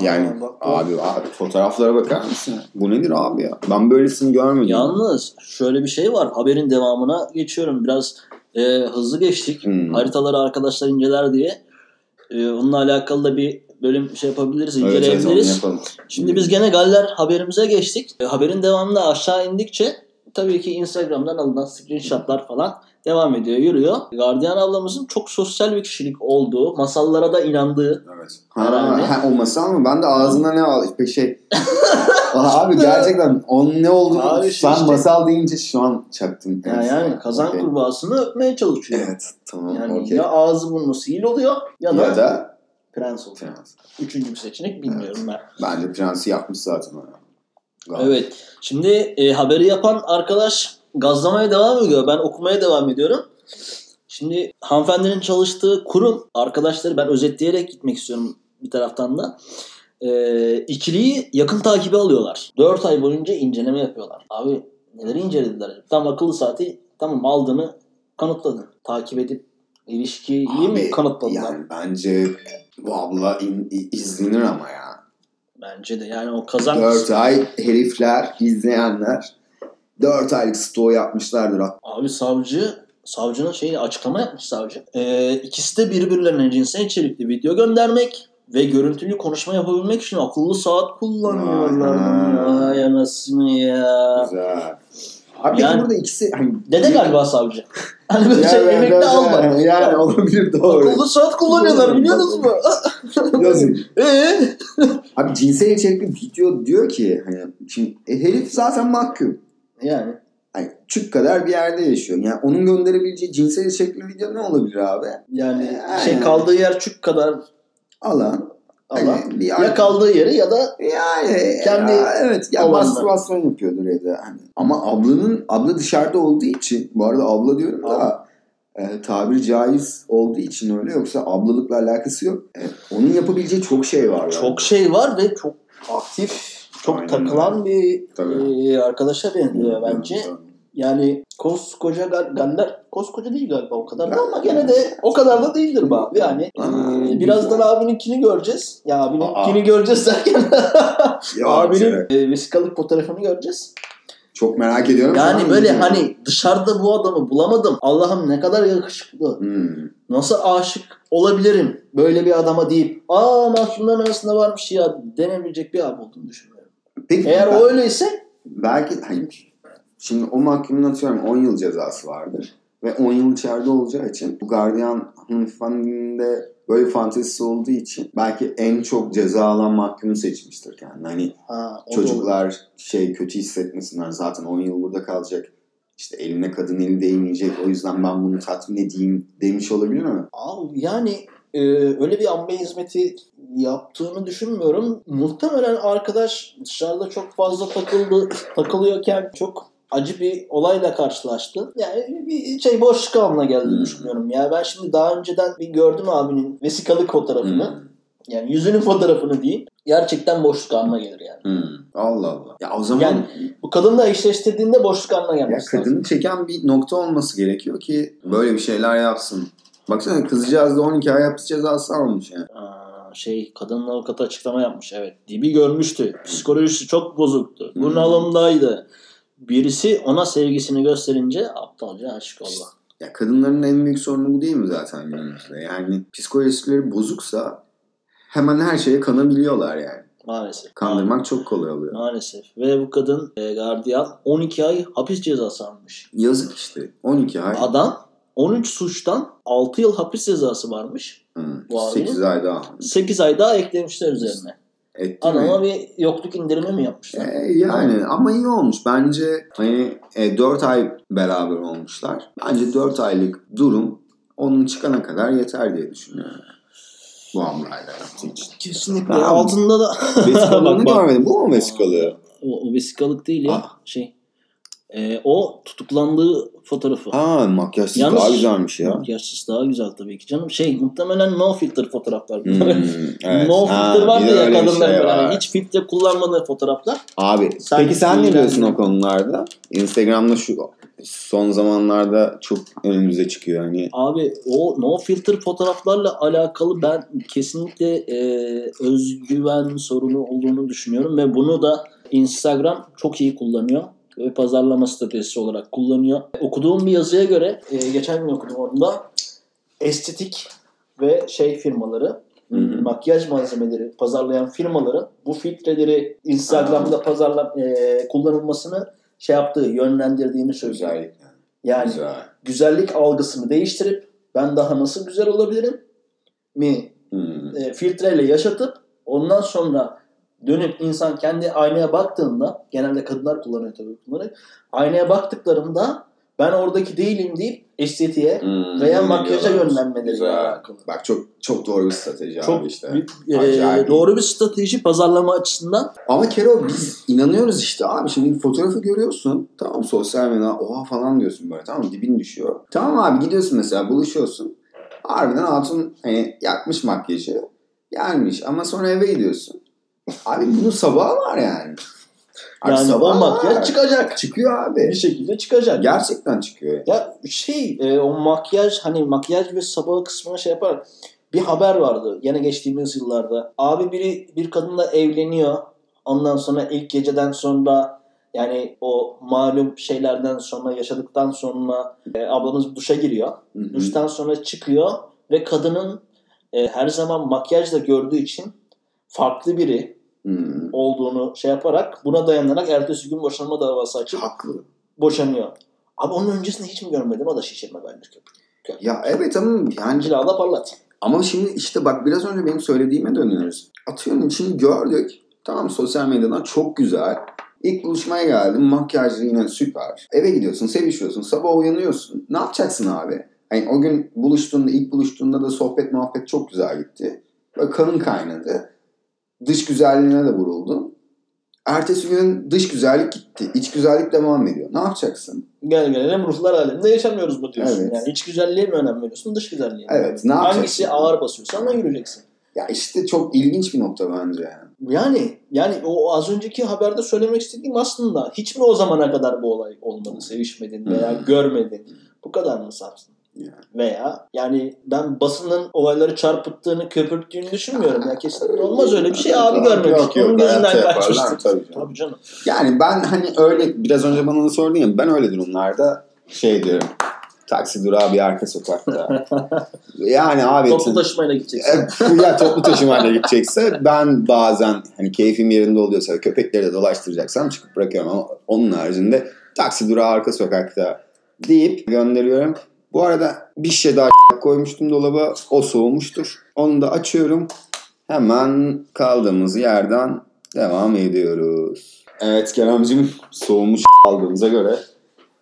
Speaker 2: Yani
Speaker 1: Aa, bak, bak.
Speaker 2: abi, abi fotoğraflara bakar mısın? Bu nedir abi ya? Ben böylesini görmedim.
Speaker 1: Yalnız şöyle bir şey var. Haberin devamına geçiyorum. Biraz e, hızlı geçtik.
Speaker 2: Hmm.
Speaker 1: Haritaları arkadaşlar inceler diye. E, onunla alakalı da bir bölüm şey yapabiliriz,
Speaker 2: Evet, evet, onu
Speaker 1: inceleyebiliriz.
Speaker 2: yapalım.
Speaker 1: Şimdi biz gene Galler haberimize geçtik. E, Haberin devamında aşağı indikçe tabii ki Instagram'dan alınan screenshotlar falan devam ediyor, yürüyor. Guardian ablamızın çok sosyal bir kişilik olduğu, masallara da inandığı.
Speaker 2: Evet.
Speaker 1: Herhalde.
Speaker 2: Ha, ha, o masal mı? Ben de ağzına ne al?
Speaker 1: (laughs)
Speaker 2: Peki şey. Aha, abi gerçekten onun ne olduğunu
Speaker 1: Abi
Speaker 2: ben
Speaker 1: işte işte.
Speaker 2: masal deyince şu an çaktım.
Speaker 1: Yani, yani kazan
Speaker 2: Okey.
Speaker 1: kurbağasını öpmeye çalışıyor.
Speaker 2: Evet tamam
Speaker 1: Yani
Speaker 2: okey.
Speaker 1: ya ağzı burnu sihir oluyor ya da,
Speaker 2: Ya da
Speaker 1: prens oluyor. Üçüncü bir seçenek bilmiyorum ben.
Speaker 2: bence prensi yapmış zaten. o ya. Galiba.
Speaker 1: Evet. Şimdi e, haberi yapan arkadaş gazlamaya devam ediyor. Ben okumaya devam ediyorum. Şimdi hanımefendinin çalıştığı kurum arkadaşları ben özetleyerek gitmek istiyorum bir taraftan da. E, ikiliyi yakın takibe alıyorlar. 4 ay boyunca inceleme yapıyorlar. Abi neleri incelediler? Tam akıllı saati tamam aldığını kanıtladı. Takip edip ilişkiyi mi kanıtladılar?
Speaker 2: Yani bence bu abla in- i- izlenir ama ya.
Speaker 1: Bence de yani o kazan
Speaker 2: 4 ay herifler, izleyenler 4 aylık stoğu yapmışlardır.
Speaker 1: Abi savcı savcının şeyi açıklama yapmış savcı. Ee, ikisi de birbirlerine cinsel içerikli video göndermek ve görüntülü konuşma yapabilmek için akıllı saat kullanıyorlar.
Speaker 2: Aha.
Speaker 1: Ay anasını ya.
Speaker 2: Güzel.
Speaker 1: Yani-
Speaker 2: Abi
Speaker 1: Şey,
Speaker 2: peki burada ikisi... Hani,
Speaker 1: Dede galiba savcı. (laughs) Hani böyle şey
Speaker 2: Yani-
Speaker 1: emekli alma.
Speaker 2: Yani, yani olabilir doğru.
Speaker 1: Akıllı saat kullanıyorlar biliyorsunuz mu? Ee?
Speaker 2: Yazık.
Speaker 1: Eee?
Speaker 2: Abi cinsel içerikli video diyor ki hani şimdi e, herif zaten mahkum.
Speaker 1: Yani
Speaker 2: Hani çık kadar bir yerde yaşıyor. Yani onun gönderebileceği cinsel içerikli video ne olabilir abi?
Speaker 1: yani
Speaker 2: Aynen.
Speaker 1: şey kaldığı yer çük kadar
Speaker 2: Alan.
Speaker 1: ama
Speaker 2: hani bir
Speaker 1: ya kaldığı yeri ya da
Speaker 2: Yani
Speaker 1: Kendi
Speaker 2: ya, evet ya
Speaker 1: alanında.
Speaker 2: mastürbasyon yapıyordur ya da hani. Ama ablanın abla dışarıda olduğu için bu arada abla diyorum da e, tabiri caiz olduğu için öyle yoksa ablalıkla alakası yok. E, onun yapabileceği çok şey var. yani.
Speaker 1: çok şey var ve çok aktif, çok
Speaker 2: Aynen
Speaker 1: takılan bir
Speaker 2: Tabii.
Speaker 1: e, arkadaşa benziyor bence. Yani koskoca Gal- Galler, koskoca değil galiba o kadar da ama gene de o kadar da değildir be abi. Yani e,
Speaker 2: Aa,
Speaker 1: birazdan
Speaker 2: güzel.
Speaker 1: abininkini göreceğiz. Ya abininkini
Speaker 2: Aa.
Speaker 1: göreceğiz derken
Speaker 2: Ya,
Speaker 1: abinin e, vesikalık fotoğrafını göreceğiz.
Speaker 2: Çok merak ediyorum.
Speaker 1: Yani
Speaker 2: Tamam.
Speaker 1: böyle hani dışarıda bu adamı bulamadım. Allah'ım ne kadar yakışıklı.
Speaker 2: Hmm.
Speaker 1: Nasıl aşık olabilirim böyle bir adama deyip aa mahkumların arasında varmış ya denebilecek bir abi olduğunu düşünüyorum.
Speaker 2: Peki
Speaker 1: Eğer
Speaker 2: ben-
Speaker 1: o öyleyse
Speaker 2: belki hayır. Şimdi o mahkumun atıyorum 10 yıl cezası vardır. Ve 10 yıl içeride olacağı için bu gardiyan hanımefendinde böyle fantezisi olduğu için belki en çok ceza alan mahkumu seçmiştir yani. Hani
Speaker 1: ha, o da olur.
Speaker 2: çocuklar şey kötü hissetmesinler zaten 10 yıl burada kalacak. İşte eline kadın eli değmeyecek o yüzden ben bunu tatmin edeyim demiş olabilir mi?
Speaker 1: Abi yani e, öyle bir ambe hizmeti yaptığını düşünmüyorum. Muhtemelen arkadaş dışarıda çok fazla takıldı, takılıyorken çok acı bir olayla karşılaştı. Yani bir şey boşluk alına geldiğini
Speaker 2: Hmm.
Speaker 1: düşünüyorum. Ya ben şimdi daha önceden bir gördüm abinin vesikalık fotoğrafını.
Speaker 2: Hmm.
Speaker 1: Yani yüzünün fotoğrafını diyeyim. Gerçekten boşluk alına gelir yani.
Speaker 2: Hmm. Allah Allah. Ya o zaman
Speaker 1: Yani- Bu kadınla eşleştirdiğinde boşluk alına
Speaker 2: Ya
Speaker 1: gelmesi lazım.
Speaker 2: kadını çeken bir nokta olması gerekiyor ki böyle bir şeyler yapsın. Baksana kızcağız da 12 ay hapis cezası almış yani.
Speaker 1: Aa, şey kadının avukatı açıklama yapmış. Evet dibi görmüştü. Psikolojisi çok bozuktu.
Speaker 2: Hmm.
Speaker 1: Bunalımdaydı. Birisi ona sevgisini gösterince aptalca aşık oldu.
Speaker 2: Ya kadınların en büyük sorunu bu değil mi zaten günümüzde? Yani psikolojisileri bozuksa hemen her şeye kanabiliyorlar yani.
Speaker 1: Maalesef.
Speaker 2: Kandırmak çok kolay oluyor.
Speaker 1: Maalesef. Ve bu kadın e, gardiyan 12 ay hapis cezası almış.
Speaker 2: Yazık işte. 12 ay.
Speaker 1: Adam 13 suçtan 6 yıl hapis cezası varmış.
Speaker 2: Hı,
Speaker 1: Bu abi-
Speaker 2: 8 ay daha.
Speaker 1: 8 ay daha eklemişler üzerine.
Speaker 2: Etti mi?
Speaker 1: Adama bir yokluk indirimi mi yapmışlar?
Speaker 2: E, yani ama iyi olmuş. Bence hani 4 ay beraber olmuşlar. Bence 4 aylık durum onun çıkana kadar yeter diye düşünüyorum. Bu Amra'yla yaptığı için.
Speaker 1: Kesinlikle.
Speaker 2: Tamam.
Speaker 1: E,
Speaker 2: (laughs)
Speaker 1: Altında da (laughs)
Speaker 2: Vesikalığını
Speaker 1: Bak, bak.
Speaker 2: görmedim. Bu mu vesikalığı?
Speaker 1: O, o vesikalık değil ya.
Speaker 2: Ah.
Speaker 1: Şey. Ee, o tutuklandığı fotoğrafı.
Speaker 2: Ha makyajsız
Speaker 1: Yalnız-
Speaker 2: daha güzelmiş ya.
Speaker 1: Makyajsız daha güzel tabii ki canım. Şey muhtemelen no filter fotoğraflar.
Speaker 2: Hmm,
Speaker 1: bunlar. (laughs)
Speaker 2: evet.
Speaker 1: no
Speaker 2: Ha,
Speaker 1: filter var
Speaker 2: bir de
Speaker 1: ya
Speaker 2: öyle bir
Speaker 1: kadınların
Speaker 2: şey
Speaker 1: böyle hani
Speaker 2: var.
Speaker 1: hiç filtre kullanmadığı fotoğraflar.
Speaker 2: Abi
Speaker 1: Sen
Speaker 2: peki sen ne
Speaker 1: sinirlendin.
Speaker 2: diyorsun o konularda? Instagram'da şu son zamanlarda çok önümüze çıkıyor. Hani
Speaker 1: Abi o no filter fotoğraflarla alakalı ben kesinlikle e, özgüven sorunu olduğunu düşünüyorum ve bunu da Instagram çok iyi kullanıyor ve pazarlama stratejisi olarak kullanıyor. Okuduğum bir yazıya göre e, geçen gün okudum onda estetik ve şey firmaları
Speaker 2: Hı hı.
Speaker 1: makyaj malzemeleri pazarlayan firmaların bu filtreleri Instagram'da pazarla e, kullanılmasını şey yaptığı yönlendirdiğini söylüyor.
Speaker 2: güzel.
Speaker 1: Yani
Speaker 2: Güzel.
Speaker 1: güzellik algısını değiştirip ben daha nasıl güzel olabilirim mi
Speaker 2: Hmm.
Speaker 1: e, filtreyle yaşatıp ondan sonra dönüp insan kendi aynaya baktığında genelde kadınlar kullanıyor tabii bunları aynaya baktıklarında ben oradaki değilim deyip estetiğe
Speaker 2: Hmm,
Speaker 1: veya makyaja
Speaker 2: biliyorum.
Speaker 1: yönlenmeleri
Speaker 2: Güzel.
Speaker 1: alakalı.
Speaker 2: Bak çok çok doğru bir strateji
Speaker 1: Çok
Speaker 2: abi işte.
Speaker 1: bir- e,
Speaker 2: Acayip.
Speaker 1: doğru bir strateji pazarlama açısından
Speaker 2: Ama Kero biz inanıyoruz işte abi şimdi fotoğrafı görüyorsun tamam sosyal medya oha falan diyorsun böyle tamam dibin düşüyor. Tamam abi gidiyorsun mesela buluşuyorsun. Harbiden hatun hani, yapmış makyajı gelmiş ama sonra eve gidiyorsun. Abi bunun sabahı var yani. Abi
Speaker 1: Yani
Speaker 2: sabah
Speaker 1: sabah makyaj
Speaker 2: var.
Speaker 1: çıkacak.
Speaker 2: Çıkıyor abi.
Speaker 1: Bir şekilde çıkacak.
Speaker 2: Gerçekten çıkıyor. yani.
Speaker 1: Ya şey e, o makyaj hani makyaj ve sabah kısmına şey yapar. Bir haber vardı yine geçtiğimiz yıllarda. Abi biri bir kadınla evleniyor. Ondan sonra ilk geceden sonra yani o malum şeylerden sonra yaşadıktan sonra e, ablamız duşa giriyor.
Speaker 2: Hı hı.
Speaker 1: Duştan sonra çıkıyor ve kadının e, her zaman makyajla gördüğü için farklı biri
Speaker 2: Hı.
Speaker 1: olduğunu şey yaparak buna dayanarak ertesi gün boşanma davası açıp
Speaker 2: Haklı.
Speaker 1: boşanıyor. Abi onun öncesinde hiç mi görmedim? O da şişirme bence köpük.
Speaker 2: Ya evet ama yani
Speaker 1: Angela da parlat.
Speaker 2: Ama şimdi işte bak biraz önce benim söylediğime dönüyoruz. Atıyorum şimdi gördük. Tamam sosyal medyadan çok güzel. İlk buluşmaya geldim. Makyajlı yine süper. Eve gidiyorsun, sevişiyorsun. Sabah uyanıyorsun. Ne yapacaksın abi? Hani o gün buluştuğunda, ilk buluştuğunda da sohbet muhabbet çok güzel gitti. Böyle kanın kaynadı. Dış güzelliğine de vuruldun. Ertesi gün dış güzellik gitti. İç güzellik devam ediyor. Ne yapacaksın?
Speaker 1: Gel gelelim ruhlar aleminde yaşamıyoruz mu diyorsun.
Speaker 2: Evet.
Speaker 1: Yani iç güzelliğe mi önem veriyorsun dış güzelliğe mi?
Speaker 2: Evet, ne yapacaksın?
Speaker 1: Hangisi ağır basıyorsa ona yürüyeceksin.
Speaker 2: Ya işte çok ilginç bir nokta bence yani.
Speaker 1: Yani yani o az önceki haberde söylemek istediğim aslında hiç mi o zamana kadar bu olay olmadı? Sevişmedin veya
Speaker 2: Hmm.
Speaker 1: görmedin. Bu kadar mı sarsın?
Speaker 2: Yani.
Speaker 1: Veya yani ben basının olayları çarpıttığını, köpürttüğünü düşünmüyorum. Ya kesinlikle olmaz öyle bir şey. Abi
Speaker 2: Yok, yok,
Speaker 1: görmemiştir. Onun gözünden
Speaker 2: hayatta yaparlar,
Speaker 1: kaçmıştır.
Speaker 2: tabii canım.
Speaker 1: Tabii canım.
Speaker 2: Yani ben hani öyle biraz önce bana da sordun ya ben öyle durumlarda şey diyorum. Taksi durağı bir arka sokakta. yani abi
Speaker 1: Toplu taşımayla gideceksin.
Speaker 2: E, ya toplu taşımayla gidecekse ben bazen hani keyfim yerinde oluyorsa köpekleri de dolaştıracaksam çıkıp bırakıyorum ama onun haricinde taksi durağı arka sokakta deyip gönderiyorum. Bu arada bir şey daha (laughs) koymuştum dolaba o soğumuştur. Onu da açıyorum. Hemen kaldığımız yerden devam ediyoruz. Evet Kerem'cim soğumuş (laughs) aldığımıza göre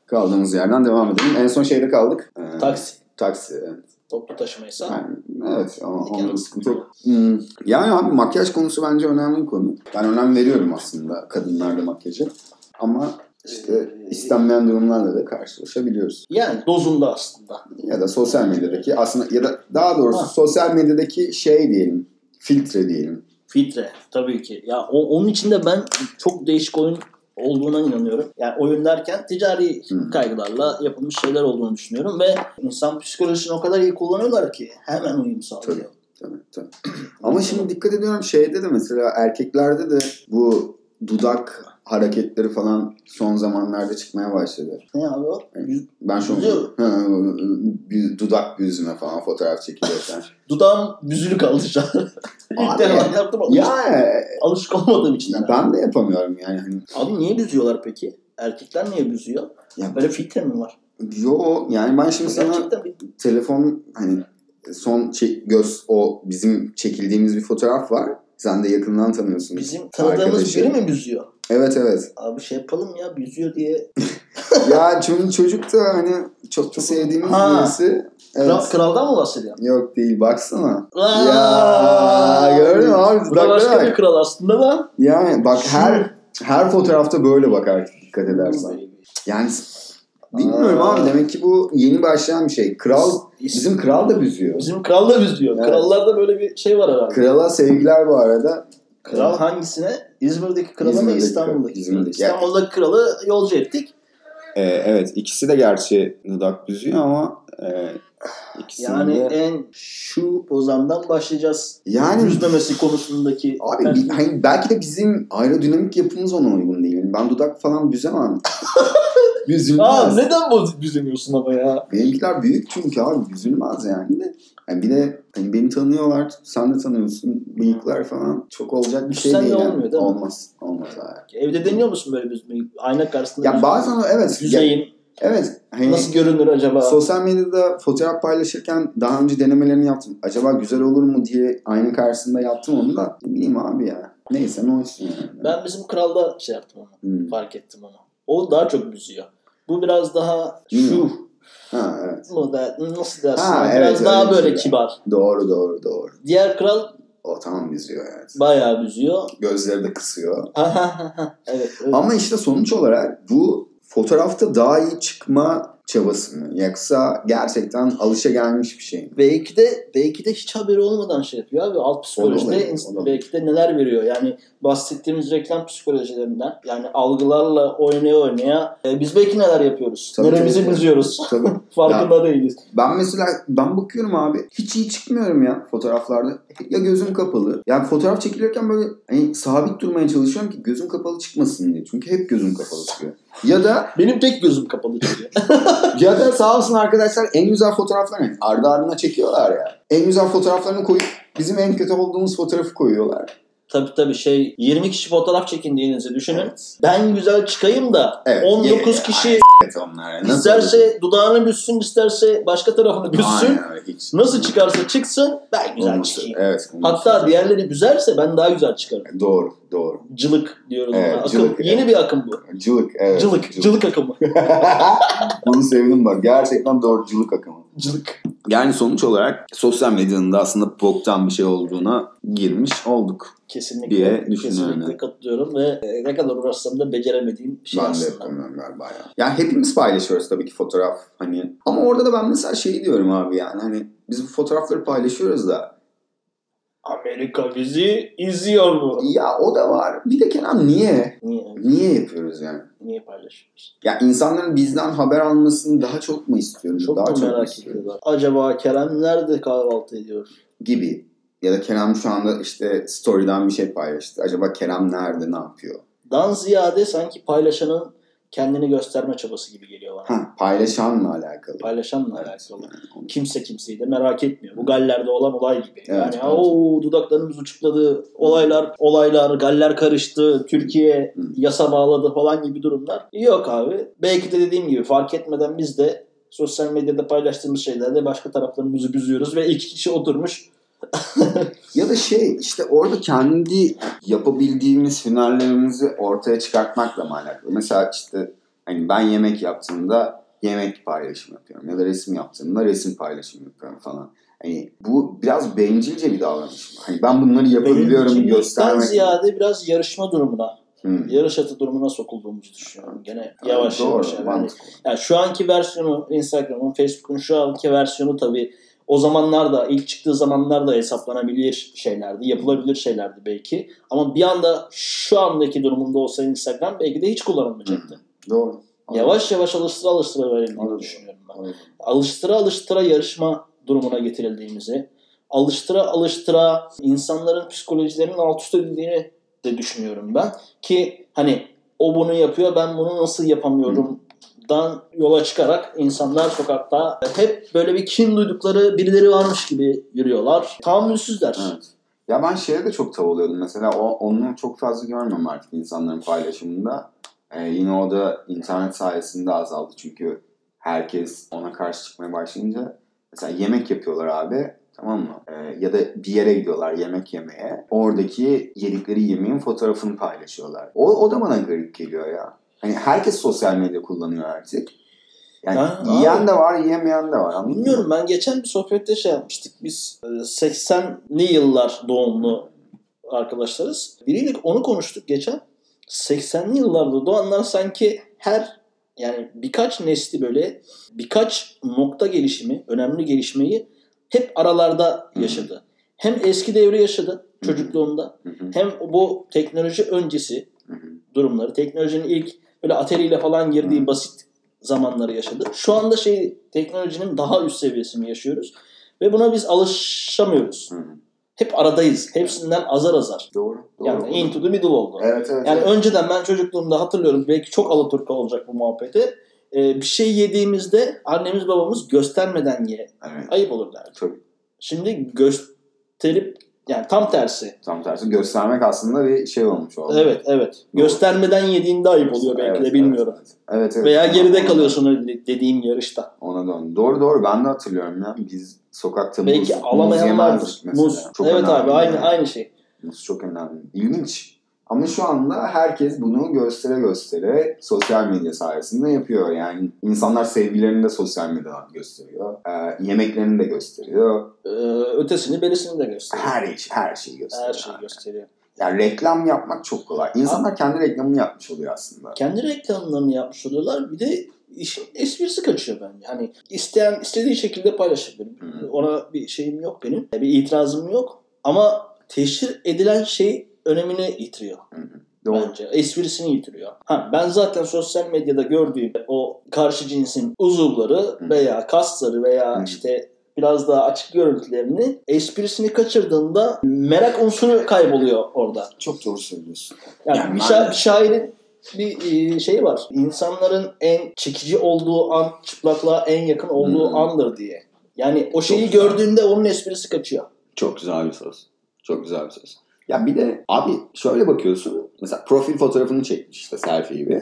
Speaker 2: kaldığımız yerden devam edelim. En son şeyde kaldık. Ee,
Speaker 1: Taksi.
Speaker 2: Taksi evet.
Speaker 1: Toplu taşımaysa.
Speaker 2: Yani, evet ama onda da sıkıntı yok. Hmm. Yani abi makyaj konusu bence önemli bir konu. Ben önem veriyorum aslında kadınlarda makyaja. Ama işte istenmeyen durumlarla da karşılaşabiliyoruz.
Speaker 1: Yani dozunda aslında.
Speaker 2: Ya da sosyal medyadaki aslında ya da daha doğrusu
Speaker 1: Ha.
Speaker 2: sosyal medyadaki şey diyelim. Filtre diyelim.
Speaker 1: Filtre tabii ki. Ya o- onun içinde ben çok değişik oyun olduğuna inanıyorum. Yani oyun derken ticari
Speaker 2: Hı.
Speaker 1: kaygılarla yapılmış şeyler olduğunu düşünüyorum ve insan psikolojisini o kadar iyi kullanıyorlar ki hemen uyum sağlıyor.
Speaker 2: Tabii, tabii. Ama şimdi dikkat ediyorum şeyde de mesela erkeklerde de bu dudak hareketleri falan son zamanlarda çıkmaya başladı.
Speaker 1: Ne abi o? Yüz-
Speaker 2: Ben şu
Speaker 1: Yüzüyor.
Speaker 2: Ha, bir dudak yüzüme falan fotoğraf çekilirken.
Speaker 1: Dudağım büzülü kaldı şu an. (laughs) İlk
Speaker 2: Abi.
Speaker 1: defa yaptım ama
Speaker 2: ya
Speaker 1: alışık olmadığım için.
Speaker 2: ya
Speaker 1: herhalde.
Speaker 2: ben de yapamıyorum yani. Hani,
Speaker 1: Abi niye büzüyorlar peki? Erkekler niye büzüyor?
Speaker 2: Ya-
Speaker 1: Böyle filtre mi var?
Speaker 2: yo yani ben şimdi sana
Speaker 1: Gerçekten bir
Speaker 2: telefon hani son çe- göz o bizim çekildiğimiz bir fotoğraf var. Sen de yakından tanıyorsun.
Speaker 1: bizim tanıdığımız
Speaker 2: arkadaşı.
Speaker 1: biri mi büzüyor?
Speaker 2: Evet evet.
Speaker 1: Abi şey yapalım ya büzüyor diye.
Speaker 2: ya çünkü çocuk da hani çok da sevdiğimiz
Speaker 1: Ha.
Speaker 2: birisi. Evet.
Speaker 1: Kral, kraldan mı bahsediyor?
Speaker 2: Yok değil baksana.
Speaker 1: Aa!
Speaker 2: ya gördün mü abi
Speaker 1: Bu da başka
Speaker 2: dudaklara
Speaker 1: bir
Speaker 2: bak.
Speaker 1: kral aslında da.
Speaker 2: Yani bak
Speaker 1: Şu-
Speaker 2: her her fotoğrafta böyle bak artık dikkat edersen. Yani s- bilmiyorum
Speaker 1: Aa.
Speaker 2: abi demek ki bu yeni başlayan bir şey. Kral bizim kral da büzüyor.
Speaker 1: bizim kral da büzüyor.
Speaker 2: Evet.
Speaker 1: Krallarda böyle bir şey var herhalde.
Speaker 2: Krala sevgiler bu arada.
Speaker 1: Kral hangisine? İzmir'deki krala mı
Speaker 2: İzmir'deki
Speaker 1: İstanbul'daki?
Speaker 2: kral, İzmir'deki.
Speaker 1: İstanbul'daki kralı yolcu ettik.
Speaker 2: Ee, evet ikisi de gerçi dudak büzüyor ama e, ikisinin
Speaker 1: Yani e,
Speaker 2: de-
Speaker 1: en şu pozamdan başlayacağız.
Speaker 2: yani
Speaker 1: Yüzlemesi konusundaki.
Speaker 2: abi bi- hani belki de bizim aerodinamik yapımız ona uygun değil. Yani ben dudak falan (laughs) büzemem.
Speaker 1: Aa,
Speaker 2: Büzülmez.
Speaker 1: neden boz büzemiyorsun ama ya?
Speaker 2: Benimkiler büyük çünkü abi büzülmez yani de. Yani bir de hani beni tanıyorlar, sen de tanıyorsun. Bıyıklar falan çok olacak bir şey
Speaker 1: Sen de
Speaker 2: değil. yani.
Speaker 1: olmuyor değil mi?
Speaker 2: Olmaz. Olmaz abi.
Speaker 1: Evde deniyor musun böyle büzmeyi? Ayna karşısında
Speaker 2: Ya
Speaker 1: yüz-
Speaker 2: bazen evet. ya-
Speaker 1: yüzeyim.
Speaker 2: evet. Hani
Speaker 1: Nasıl görünür acaba?
Speaker 2: sosyal medyada fotoğraf paylaşırken daha önce denemelerini yaptım. Acaba güzel olur mu diye aynı karşısında yaptım onu da. Ne bileyim abi ya. Neyse ne olsun yani.
Speaker 1: Ben bizim kralda şey yaptım onu.
Speaker 2: Hmm.
Speaker 1: Fark ettim onu. O daha çok büzüyor. Bu biraz daha şu
Speaker 2: Hmm. Ha evet.
Speaker 1: model nasıl dersin?
Speaker 2: Ha,
Speaker 1: biraz
Speaker 2: evet,
Speaker 1: daha
Speaker 2: öyle
Speaker 1: böyle
Speaker 2: bir şey
Speaker 1: kibar.
Speaker 2: Doğru doğru doğru.
Speaker 1: Diğer kral
Speaker 2: O tamam yüzüyor evet.
Speaker 1: bayağı büzüyor. (laughs)
Speaker 2: Gözleri de kısıyor.
Speaker 1: evet, evet.
Speaker 2: Ama işte sonuç olarak bu fotoğrafta daha iyi çıkma çabası mı? Yoksa gerçekten alışa gelmiş bir
Speaker 1: (laughs)
Speaker 2: şey mi?
Speaker 1: Belki de belki de hiç haberi olmadan şey yapıyor abi. Alt psikolojide
Speaker 2: Olabilir,
Speaker 1: ins-
Speaker 2: olabilir.
Speaker 1: belki de neler veriyor. Yani bahsettiğimiz reklam psikolojilerinden yani algılarla oynaya oynaya e, biz belki neler yapıyoruz.
Speaker 2: Tabii,
Speaker 1: Neremizi
Speaker 2: tabii.
Speaker 1: bozuyoruz.
Speaker 2: Tabii.
Speaker 1: Farkında değiliz.
Speaker 2: Ben mesela ben bakıyorum abi hiç iyi çıkmıyorum ya fotoğraflarda. Ya gözüm kapalı. Yani fotoğraf çekilirken böyle hani sabit durmaya çalışıyorum ki gözüm kapalı çıkmasın diye. Çünkü hep gözüm kapalı çıkıyor. Ya da
Speaker 1: Benim tek gözüm kapalı çıkıyor.
Speaker 2: ya da sağ olsun arkadaşlar en güzel fotoğraflarını ardı ardına çekiyorlar ya. En güzel fotoğraflarını koyup bizim en kötü olduğumuz fotoğrafı koyuyorlar.
Speaker 1: tabii tabii şey 20 kişi fotoğraf çekindiğinizi düşünün. Ben güzel çıkayım da
Speaker 2: Evet,
Speaker 1: 19
Speaker 2: yine-
Speaker 1: kişi
Speaker 2: Evet onlar. ya. Nasıl-
Speaker 1: isterse dudağını büssün isterse başka tarafını büssün.
Speaker 2: Aynen öyle, hiç.
Speaker 1: Nasıl çıkarsa çıksın ben güzel
Speaker 2: Olmaz.
Speaker 1: çıkayım.
Speaker 2: Evet. olmaz.
Speaker 1: Hatta diğerleri güzelse ben daha güzel çıkarım.
Speaker 2: Doğru, doğru.
Speaker 1: Cılık diyoruz
Speaker 2: Evet,
Speaker 1: ona. Akım.
Speaker 2: cılık,
Speaker 1: Yeni bir akım bu.
Speaker 2: Cılık, evet.
Speaker 1: Cılık.
Speaker 2: (laughs)
Speaker 1: Cılık akımı. (laughs)
Speaker 2: Bunu sevdim bak. Gerçekten doğru cılık akımı.
Speaker 1: Cılık.
Speaker 2: Yani sonuç olarak sosyal medyanın da aslında boktan bir şey olduğuna girmiş olduk.
Speaker 1: Kesinlikle.
Speaker 2: Diye düşünüyorum
Speaker 1: kesinlikle
Speaker 2: yani.
Speaker 1: katılıyorum ve e, ne kadar uğraşsam da beceremediğim bir şey
Speaker 2: ben de
Speaker 1: aslında.
Speaker 2: yapamıyorum galiba ya. Yani hepimiz paylaşıyoruz tabii ki fotoğraf hani. Ama orada da ben mesela şey diyorum abi yani hani biz bu fotoğrafları paylaşıyoruz da
Speaker 1: Amerika bizi izliyor mu?
Speaker 2: ya o da var. Bir de Kenan niye?
Speaker 1: Niye?
Speaker 2: Niye yapıyoruz yani?
Speaker 1: Niye paylaşıyoruz?
Speaker 2: Ya insanların bizden haber almasını daha çok mu istiyoruz?
Speaker 1: Çok
Speaker 2: daha
Speaker 1: mu
Speaker 2: mu
Speaker 1: merak
Speaker 2: istiyoruz?
Speaker 1: ediyorlar? Acaba Kerem nerede kahvaltı ediyor?
Speaker 2: gibi. Ya da Kerem şu anda işte story'den bir şey paylaştı. Acaba Kerem nerede, ne yapıyor?
Speaker 1: Dan ziyade sanki paylaşanın kendini gösterme çabası gibi geliyor bana.
Speaker 2: Ha, paylaşanla alakalı.
Speaker 1: Paylaşanla
Speaker 2: Evet.
Speaker 1: alakalı. kimse kimseyi de merak etmiyor. Bu Galler'de olan olay gibi.
Speaker 2: Evet,
Speaker 1: yani
Speaker 2: evet.
Speaker 1: o dudaklarımız uçukladı, olaylar olaylar, Galler karıştı, Türkiye
Speaker 2: Hı.
Speaker 1: yasa bağladı falan gibi durumlar. Yok abi. Belki de dediğim gibi fark etmeden biz de sosyal medyada paylaştığımız şeylerde başka taraflarımızı büzüyoruz ve iki kişi oturmuş.
Speaker 2: Ya da şey işte orada kendi yapabildiğimiz hünerlerimizi ortaya çıkartmakla mı alakalı? Mesela işte hani ben yemek yaptığımda yemek paylaşımı yapıyorum. Ya da resim yaptığımda resim paylaşımı yapıyorum falan. Hani bu biraz bencilce bir davranış. mı? Hani ben bunları yapabiliyorum
Speaker 1: Benim
Speaker 2: göstermek.
Speaker 1: ziyade biraz yarışma durumuna,
Speaker 2: Hı.
Speaker 1: yarış atı durumuna sokulduğumuzu düşünüyorum. Gene yavaş
Speaker 2: Doğru,
Speaker 1: yavaş. yani.
Speaker 2: mantıklı.
Speaker 1: Yani şu anki versiyonu Instagram'ın, Facebook'un şu anki versiyonu tabii o zamanlarda ilk çıktığı zamanlarda hesaplanabilir şeylerdi, yapılabilir şeylerdi belki. Ama bir anda şu andaki durumunda olsa Instagram belki de hiç kullanılmayacaktı.
Speaker 2: Doğru.
Speaker 1: Yavaş yavaş alıştıra alıştıra
Speaker 2: Anladım.
Speaker 1: verildiğini düşünüyorum ben.
Speaker 2: Anladım.
Speaker 1: Alıştıra alıştıra yarışma durumuna getirildiğimizi, alıştıra alıştıra insanların psikolojilerinin alt üst edildiğini de düşünüyorum ben. Ki hani o bunu yapıyor ben bunu nasıl yapamıyorum dan yola çıkarak insanlar sokakta hep böyle bir kin duydukları birileri varmış gibi yürüyorlar. Tahammülsüzler.
Speaker 2: Evet. Ya ben şeye de çok tav oluyordum. Mesela o, onu çok fazla görmüyorum artık insanların paylaşımında. Ee, yine o da internet sayesinde azaldı. Çünkü herkes ona karşı çıkmaya başlayınca. Mesela yemek yapıyorlar abi. Tamam mı? Ee, ya da bir yere gidiyorlar yemek yemeye. Oradaki yedikleri yemeğin fotoğrafını paylaşıyorlar. O, o da bana garip geliyor ya. Hani herkes sosyal medya kullanıyor artık. Yani
Speaker 1: Ha,
Speaker 2: yiyen
Speaker 1: abi.
Speaker 2: de var, yemeyen de var. Anladın mı?
Speaker 1: Bilmiyorum ben geçen bir sohbette şey yapmıştık biz e, 80'li yıllar doğumlu arkadaşlarız. Biriyle onu konuştuk geçen. 80'li yıllarda doğanlar sanki her yani birkaç nesli böyle birkaç nokta gelişimi, önemli gelişmeyi hep aralarda
Speaker 2: Hı.
Speaker 1: yaşadı. Hem eski devri yaşadı çocukluğunda
Speaker 2: Hı hı,
Speaker 1: hem bu teknoloji öncesi
Speaker 2: hı hı.
Speaker 1: durumları. Teknolojinin ilk böyle ateliyle falan girdiği
Speaker 2: Hı.
Speaker 1: basit zamanları yaşadı. Şu anda şey teknolojinin daha üst seviyesini yaşıyoruz ve buna biz alışamıyoruz.
Speaker 2: Hı hı.
Speaker 1: Hep aradayız. Hepsinden azar azar.
Speaker 2: Doğru. doğru.
Speaker 1: Yani into the middle oldu.
Speaker 2: Evet evet.
Speaker 1: Yani
Speaker 2: evet.
Speaker 1: önceden ben çocukluğumda hatırlıyorum belki çok alaturka olacak bu muhabbeti. Ee, bir şey yediğimizde annemiz babamız göstermeden ye.
Speaker 2: Evet.
Speaker 1: Ayıp olur derdi.
Speaker 2: Tabii.
Speaker 1: Şimdi gösterip yani tam tersi.
Speaker 2: Tam tersi göstermek aslında bir şey olmuş oldu.
Speaker 1: Evet evet.
Speaker 2: Doğru.
Speaker 1: Göstermeden yediğinde ayıp oluyor belki
Speaker 2: Evet,
Speaker 1: de bilmiyorum.
Speaker 2: Evet, evet. evet.
Speaker 1: Veya geride kalıyorsun öyle dediğim yarışta.
Speaker 2: Ona dön. Doğru doğru ben de hatırlıyorum ya. Biz sokakta muz,
Speaker 1: Belki alamayan
Speaker 2: muz
Speaker 1: vardır.
Speaker 2: yemezdik mesela.
Speaker 1: Muz.
Speaker 2: Çok
Speaker 1: evet
Speaker 2: önemli
Speaker 1: abi aynı
Speaker 2: yani.
Speaker 1: aynı şey.
Speaker 2: Muz çok önemli. İlginç. Ama şu anda herkes bunu göstere göstere sosyal medya sayesinde yapıyor. Yani insanlar sevgilerini de sosyal medyadan gösteriyor. Ee, yemeklerini de gösteriyor.
Speaker 1: Ee, ötesini belisini de gösteriyor.
Speaker 2: Her, iş, her şeyi gösteriyor.
Speaker 1: Her şey. şeyi gösteriyor.
Speaker 2: Yani reklam yapmak çok kolay. İnsanlar kendi reklamını yapmış oluyor aslında.
Speaker 1: Kendi reklamlarını yapmış oluyorlar. Bir de işin esprisi kaçıyor bence. Hani isteyen istediği şekilde paylaşabilir. Ona bir şeyim yok benim. Bir itirazım yok. Ama teşhir edilen şey önemini yitiriyor
Speaker 2: Doğru.
Speaker 1: bence. Esprisini yitiriyor. Ha, ben zaten sosyal medyada gördüğüm o karşı cinsin uzuvları veya kasları veya
Speaker 2: Hı.
Speaker 1: işte biraz daha açık görüntülerini esprisini kaçırdığında merak unsuru kayboluyor orada.
Speaker 2: Çok doğru söylüyorsun.
Speaker 1: Yani,
Speaker 2: Yani
Speaker 1: bir, şa-
Speaker 2: maalesef.
Speaker 1: bir şairin bir e, şeyi var. İnsanların en çekici olduğu an çıplaklığa en yakın olduğu
Speaker 2: Hmm.
Speaker 1: andır diye. Yani o şeyi
Speaker 2: Çok güzel.
Speaker 1: gördüğünde onun esprisi kaçıyor.
Speaker 2: Çok güzel bir söz. Çok güzel bir söz. Ya bir de abi şöyle bakıyorsun. Mesela profil fotoğrafını çekmiş işte selfie gibi.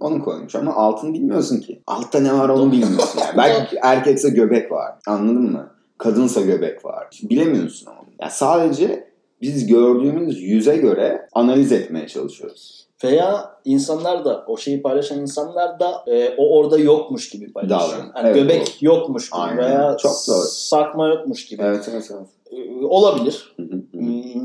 Speaker 2: Onu koymuş ama altını bilmiyorsun ki. Altta ne var onu bilmiyorsun. (laughs) Yani. Belki erkekse göbek var. Anladın mı? Kadınsa göbek var. Bilemiyorsun ama. Ya sadece biz gördüğümüz yüze göre analiz etmeye çalışıyoruz.
Speaker 1: Veya insanlar da o şeyi paylaşan insanlar da e, o orada yokmuş gibi paylaşıyor.
Speaker 2: Davran.
Speaker 1: Yani
Speaker 2: Evet,
Speaker 1: göbek yokmuş gibi
Speaker 2: Aynen.
Speaker 1: veya
Speaker 2: Çok doğru.
Speaker 1: sarkma yokmuş gibi.
Speaker 2: Evet evet evet.
Speaker 1: E, olabilir.
Speaker 2: Hı hı hı.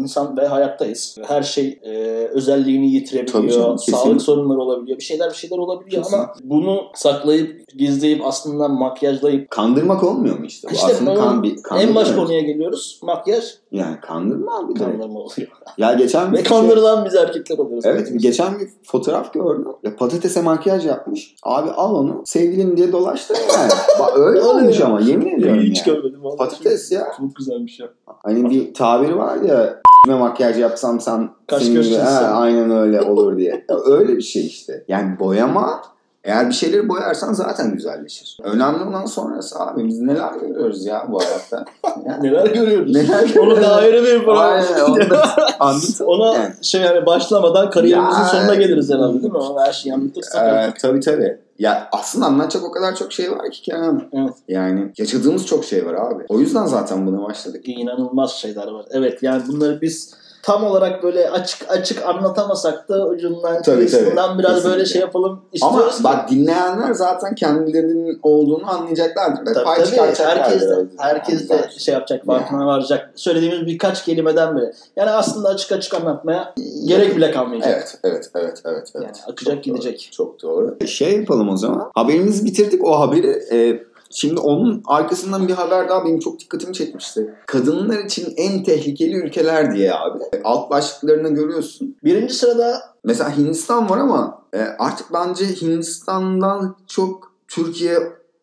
Speaker 1: İnsan ve hayattayız. Her şey e, özelliğini
Speaker 2: Tabii canım,
Speaker 1: yitirebiliyor.
Speaker 2: kesin.
Speaker 1: Sağlık sorunları olabiliyor. Bir şeyler bir şeyler olabiliyor
Speaker 2: Kesin.
Speaker 1: ama bunu saklayıp gizleyip aslında makyajlayıp
Speaker 2: Kandırmak olmuyor mu işte? Bu
Speaker 1: İşte
Speaker 2: aslında
Speaker 1: bu-
Speaker 2: kan, bir, kandırma.
Speaker 1: en baş konuya geliyoruz. Makyaj
Speaker 2: Yani kandırma abi direkt.
Speaker 1: kandırma oluyor.
Speaker 2: Ya geçen
Speaker 1: Ve
Speaker 2: bir şey-
Speaker 1: kandırılan biz erkekler oluyoruz.
Speaker 2: Evet geçen bir fotoğraf gördüm. Ya patatese makyaj yapmış. Abi al onu sevgilim diye dolaştır
Speaker 1: (laughs)
Speaker 2: yani. Bak öyle
Speaker 1: Öyle
Speaker 2: olmuş
Speaker 1: ya.
Speaker 2: ama yemin ediyorum
Speaker 1: Hiç
Speaker 2: yani.
Speaker 1: görmedim. vallahi.
Speaker 2: Patates ya.
Speaker 1: Çok güzelmiş ya.
Speaker 2: Hani bir tabir var ya "Kime makyaj yapsam sen
Speaker 1: Kaş
Speaker 2: senin gibi,
Speaker 1: görsün
Speaker 2: ha,
Speaker 1: sen."
Speaker 2: aynen öyle olur diye. Ya öyle bir şey işte. Yani boyama eğer bir şeyleri boyarsan zaten güzelleşir. Önemli olan sonrası abi biz neler görüyoruz ya bu
Speaker 1: (laughs)
Speaker 2: hayatta. Yani,
Speaker 1: Neler görüyoruz?
Speaker 2: neler
Speaker 1: Onu da
Speaker 2: görüyoruz?
Speaker 1: ayrı bir
Speaker 2: Aynen, onu
Speaker 1: program.
Speaker 2: da anlatalım
Speaker 1: (laughs) Ona
Speaker 2: yani.
Speaker 1: şey yani başlamadan kariyerimizin
Speaker 2: Ya.
Speaker 1: sonuna geliriz herhalde değil mi? Ona her şeyi anlatırsak.
Speaker 2: Ee,
Speaker 1: artık.
Speaker 2: tabii tabii. Ya aslında anlatacak o kadar çok şey var ki Kenan.
Speaker 1: Evet.
Speaker 2: Yani yaşadığımız çok şey var abi. O yüzden zaten buna başladık.
Speaker 1: İnanılmaz şeyler var. Evet yani bunları biz tam olarak böyle açık açık anlatamasak da ucundan
Speaker 2: Tabii,
Speaker 1: kıyısından
Speaker 2: tabii.
Speaker 1: biraz böyle
Speaker 2: Kesinlikle.
Speaker 1: şey yapalım
Speaker 2: Ama
Speaker 1: istiyoruz.
Speaker 2: bak dinleyenler zaten kendilerinin olduğunu anlayacaklardır. Ve
Speaker 1: Tabii,
Speaker 2: pay
Speaker 1: tabii.
Speaker 2: çıkartacaklardır.
Speaker 1: Herkes de,
Speaker 2: Yani
Speaker 1: herkes de
Speaker 2: güzel.
Speaker 1: şey yapacak, farkına varacak. Söylediğimiz birkaç kelimeden bile. Yani aslında açık açık anlatmaya gerek bile kalmayacak.
Speaker 2: Evet, evet, evet, evet. evet.
Speaker 1: Yani akacak
Speaker 2: Çok doğru,
Speaker 1: gidecek.
Speaker 2: Çok doğru. Şey yapalım o zaman. Haberimizi bitirdik. O haberi e, şimdi onun arkasından bir haber daha benim çok dikkatimi çekmişti. Kadınlar için en tehlikeli ülkeler diye abi. Alt başlıklarını görüyorsun.
Speaker 1: Birinci sırada
Speaker 2: Mesela Hindistan var ama e, artık bence Hindistan'dan çok Türkiye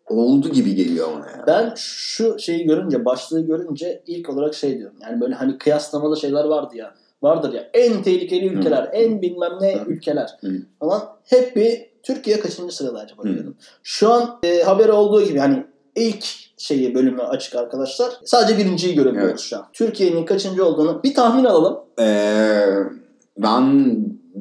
Speaker 2: oldu gibi geliyor bana ya.
Speaker 1: ben şu şeyi görünce, başlığı görünce ilk olarak şey diyorum. Yani böyle hani kıyaslamalı şeyler vardı ya. Vardır ya. En tehlikeli ülkeler, en bilmem ne
Speaker 2: Hı.
Speaker 1: ülkeler
Speaker 2: Hı.
Speaker 1: falan. Hep bir Türkiye kaçıncı sırada acaba
Speaker 2: Hı.
Speaker 1: diyorum. Şu an e, haberi olduğu gibi hani ilk şeyi bölümü açık arkadaşlar. Sadece birinciyi görebiliyoruz
Speaker 2: Evet.
Speaker 1: şu an. Türkiye'nin kaçıncı olduğunu bir tahmin alalım.
Speaker 2: Ee, ben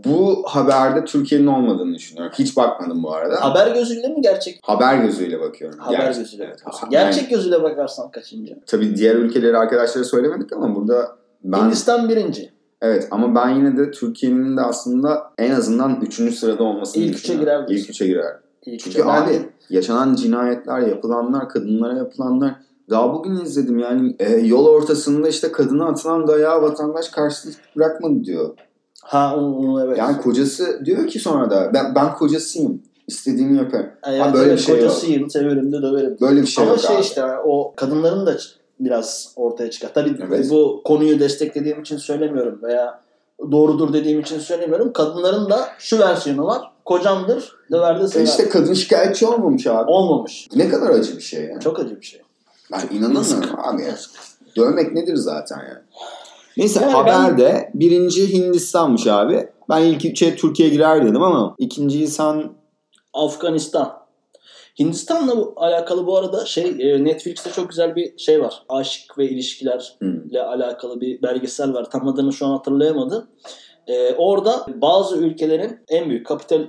Speaker 2: bu haberde Türkiye'nin olmadığını düşünüyorum. Hiç bakmadım bu arada.
Speaker 1: Haber gözüyle mi gerçek?
Speaker 2: Haber gözüyle bakıyorum.
Speaker 1: Haber
Speaker 2: Gerçek-
Speaker 1: gözüyle
Speaker 2: Evet,
Speaker 1: bakıyorsun.
Speaker 2: ha-
Speaker 1: Gerçek
Speaker 2: yani
Speaker 1: gözüyle bakarsan kaçıncı?
Speaker 2: tabii diğer ülkeleri arkadaşlara söylemedik ama burada ben
Speaker 1: Hindistan birinci.
Speaker 2: evet ama ben yine de Türkiye'nin de aslında en azından 3. sırada olmasını
Speaker 1: İlk üçe
Speaker 2: düşünüyorum.
Speaker 1: girer diyorsun.
Speaker 2: İlk üçe girer.
Speaker 1: İlk
Speaker 2: Çünkü
Speaker 1: üçe. Ben-
Speaker 2: abi yaşanan cinayetler, yapılanlar, kadınlara yapılanlar daha bugün izledim yani e, yol ortasında işte kadına atılan dayağı vatandaş karşılık bırakmadı diyor.
Speaker 1: Ha onu, onu evet.
Speaker 2: Yani kocası diyor ki sonra da ben, ben kocasıyım istediğimi yaparım.
Speaker 1: Ay,
Speaker 2: ha,
Speaker 1: evet,
Speaker 2: böyle
Speaker 1: evet,
Speaker 2: bir şey yok.
Speaker 1: kocasıyım, severim de döverim.
Speaker 2: Böyle bir şey
Speaker 1: Ama
Speaker 2: yok
Speaker 1: şey
Speaker 2: abi.
Speaker 1: işte yani o kadınların da biraz ortaya çıkar. Tabii
Speaker 2: Evet.
Speaker 1: bu konuyu desteklediğim için söylemiyorum veya doğrudur dediğim için söylemiyorum. Kadınların da şu versiyonu var. Kocamdır, döver de
Speaker 2: E
Speaker 1: sever.
Speaker 2: İşte kadın şikayetçi olmamış abi.
Speaker 1: Olmamış.
Speaker 2: Ne kadar acı bir şey ya.
Speaker 1: Çok acı bir şey.
Speaker 2: Ben inanamıyorum abi ya. Dövmek nedir zaten yani. Neyse
Speaker 1: Yani
Speaker 2: haberde birinci Hindistan'mış abi. Ben ilk üçe Türkiye girer dedim ama ikinciyi sen
Speaker 1: Afganistan. Hindistan'la bu, alakalı bu arada şey e, Netflix'te çok güzel bir şey var. Aşk ve ilişkilerle
Speaker 2: Hı.
Speaker 1: alakalı bir belgesel var. Tam adını şu an hatırlayamadım. E, orada bazı ülkelerin en büyük kapital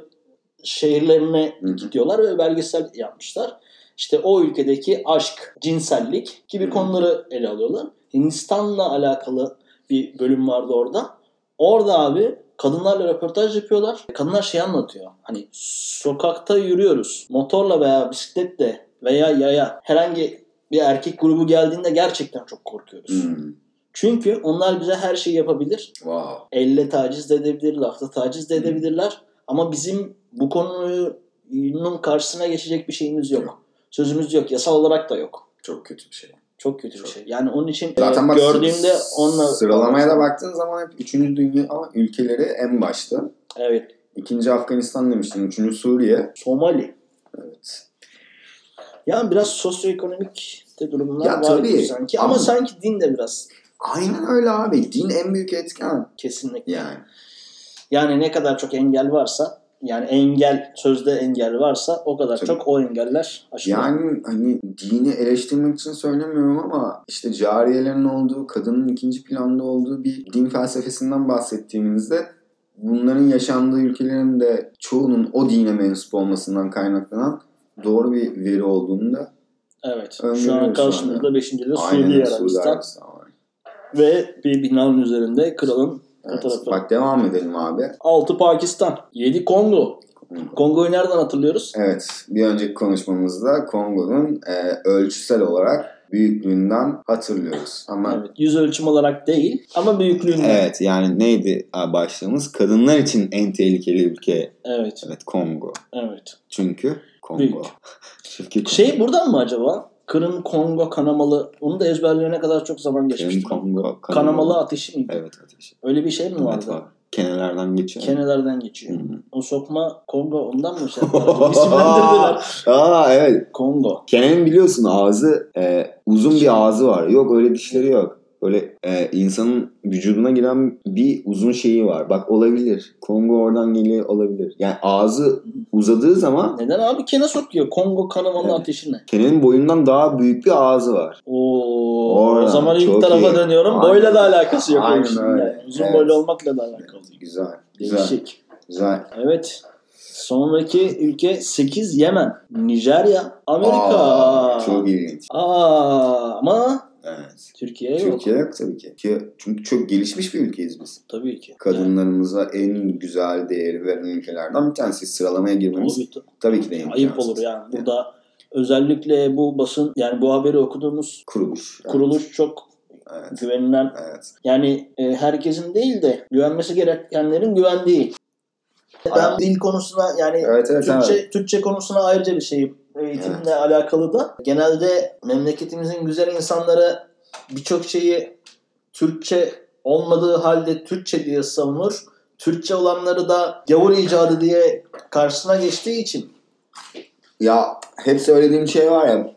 Speaker 1: şehirlerine
Speaker 2: Hı hı.
Speaker 1: gidiyorlar ve belgesel yapmışlar. İşte o ülkedeki aşk, cinsellik gibi
Speaker 2: Hı.
Speaker 1: konuları ele alıyorlar. Hindistan'la alakalı bir bölüm vardı orada. Orada abi kadınlarla röportaj yapıyorlar. Kadınlar şey anlatıyor. Hani sokakta yürüyoruz. Motorla veya bisikletle veya yaya herhangi bir erkek grubu geldiğinde gerçekten çok korkuyoruz.
Speaker 2: Hmm.
Speaker 1: Çünkü onlar bize her şeyi yapabilir
Speaker 2: Wow.
Speaker 1: elle taciz de edebilir, lafta taciz de edebilirler. Ama bizim bu konuyu bunun karşısına geçecek bir şeyimiz yok. Sözümüz yok. Yasal olarak da yok.
Speaker 3: Çok kötü bir şey.
Speaker 1: Çok kötü bir
Speaker 3: Çok.
Speaker 1: şey. Yani onun için
Speaker 2: Zaten
Speaker 1: e,
Speaker 2: bak
Speaker 1: gördüğümde onunla...
Speaker 2: sıralamaya da baktığın zaman hep 3. dünya ülkeleri en başta.
Speaker 1: Evet.
Speaker 2: İkinci Afganistan demiştin, üçüncü Suriye.
Speaker 1: Somali.
Speaker 2: Evet.
Speaker 1: Yani biraz sosyoekonomik de durumlar
Speaker 2: Ya
Speaker 1: var
Speaker 2: tabii.
Speaker 1: gibi sanki. Ama,
Speaker 2: Ama-
Speaker 1: sanki din de biraz
Speaker 2: Aynen öyle abi. Din en büyük etken.
Speaker 1: kesinlikle.
Speaker 2: Yani.
Speaker 1: Yani ne kadar çok engel varsa yani engel, sözde engel varsa o kadar
Speaker 2: Tabii.
Speaker 1: çok o engeller aşılıyor.
Speaker 2: Yani hani dini eleştirmek için söylemiyorum ama işte cariyelerin olduğu, kadının ikinci planda olduğu bir din felsefesinden bahsettiğimizde bunların yaşandığı ülkelerin de çoğunun o dine mensup olmasından kaynaklanan doğru bir veri olduğunu da
Speaker 1: Evet. Şu an
Speaker 2: Öngörüyoruz şu
Speaker 1: karşımızda 5. de Suudi
Speaker 2: aynen Suudi
Speaker 1: Arabistan
Speaker 2: Arabistan var.
Speaker 1: ve bir binanın üzerinde kralın
Speaker 2: Evet.
Speaker 1: tarafı.
Speaker 2: Bak devam edelim abi.
Speaker 1: 6 Pakistan, 7 Kongo. Kongo'yu nereden hatırlıyoruz?
Speaker 2: Evet, bir önceki konuşmamızda Kongo'nun e, ölçüsel olarak büyüklüğünden hatırlıyoruz. Ama
Speaker 1: Evet. Yüz ölçüm olarak değil ama büyüklüğünden. Evet.
Speaker 2: Evet yani neydi abi başlığımız? Kadınlar için en tehlikeli ülke.
Speaker 1: Evet.
Speaker 2: Evet Kongo.
Speaker 1: evet.
Speaker 2: Çünkü
Speaker 1: Büyük.
Speaker 2: Kongo. (laughs) Çünkü
Speaker 1: Şey buradan mı acaba? Kırım Kongo kanamalı. Onu da ezberlerine kadar çok zaman
Speaker 2: Kongo.
Speaker 1: geçmişti.
Speaker 2: Kongo
Speaker 1: Kanamalı ateşi mi?
Speaker 2: Evet ateşi.
Speaker 1: Öyle bir şey mi vardı?
Speaker 2: Evet var. Kenarlardan geçiyor.
Speaker 1: Kenelerden geçiyor.
Speaker 2: Hı.
Speaker 1: O sokma Kongo ondan mı
Speaker 2: (laughs)
Speaker 1: şey yaptılar acaba? İsimlendirdiler.
Speaker 2: Aa evet.
Speaker 1: Kongo.
Speaker 2: Kenan'ın biliyorsun ağzı e, uzun bir ağzı var. Yok öyle dişleri yok. Böyle e, insanın vücuduna giren bir uzun şeyi var. Bak olabilir. Kongo oradan geliyor olabilir. Yani ağzı uzadığı zaman
Speaker 1: Neden abi kene sokuyor? Kongo kanamalı
Speaker 2: Evet.
Speaker 1: ateşine.
Speaker 2: Kenan'ın boyundan daha büyük bir ağzı var.
Speaker 1: Oo, o
Speaker 2: Oradan,
Speaker 1: zaman ilk
Speaker 2: çok
Speaker 1: tarafa
Speaker 2: iyi.
Speaker 1: dönüyorum.
Speaker 2: Aynen.
Speaker 1: Boyla da alakası yok. o
Speaker 2: Aynen
Speaker 1: işin
Speaker 2: öyle.
Speaker 1: yani. Uzun
Speaker 2: Evet.
Speaker 1: boylu olmakla da alakalı.
Speaker 2: Güzel. Güzel.
Speaker 1: Değişik.
Speaker 2: Güzel.
Speaker 1: Evet. Sonraki ülke 8 Yemen, Nijerya, Amerika.
Speaker 2: Aa, çok ilginç.
Speaker 1: Aa, ama
Speaker 2: Evet.
Speaker 1: Türkiye Şey yok.
Speaker 2: Türkiye yok tabii ki. Ki- Çünkü çok gelişmiş bir ülkeyiz biz.
Speaker 1: Tabii ki. Yani,
Speaker 2: Kadınlarımıza en güzel değeri veren ülkelerden bir tanesi. Sıralamaya girmemiz
Speaker 1: tabii ki.
Speaker 2: tabii ki de imkansız.
Speaker 1: ayıp olur yani. Burada özellikle bu basın yani bu haberi okuduğumuz
Speaker 2: Kuruluş. Evet.
Speaker 1: kuruluş çok
Speaker 2: Evet.
Speaker 1: güvenilen
Speaker 2: evet.
Speaker 1: yani e, herkesin değil de güvenmesi gerekenlerin güvendiği. Ben
Speaker 2: Aynen.
Speaker 1: dil konusuna yani
Speaker 2: Evet evet
Speaker 1: Türkçe,
Speaker 2: evet.
Speaker 1: Türkçe konusuna ayrıca bir şeyim. Eğitimle
Speaker 2: Evet.
Speaker 1: alakalı da. Genelde memleketimizin güzel insanları birçok şeyi Türkçe olmadığı halde Türkçe diye savunur. Türkçe olanları da gavur icadı diye karşısına geçtiği için.
Speaker 2: Ya hep söylediğim şey var ya.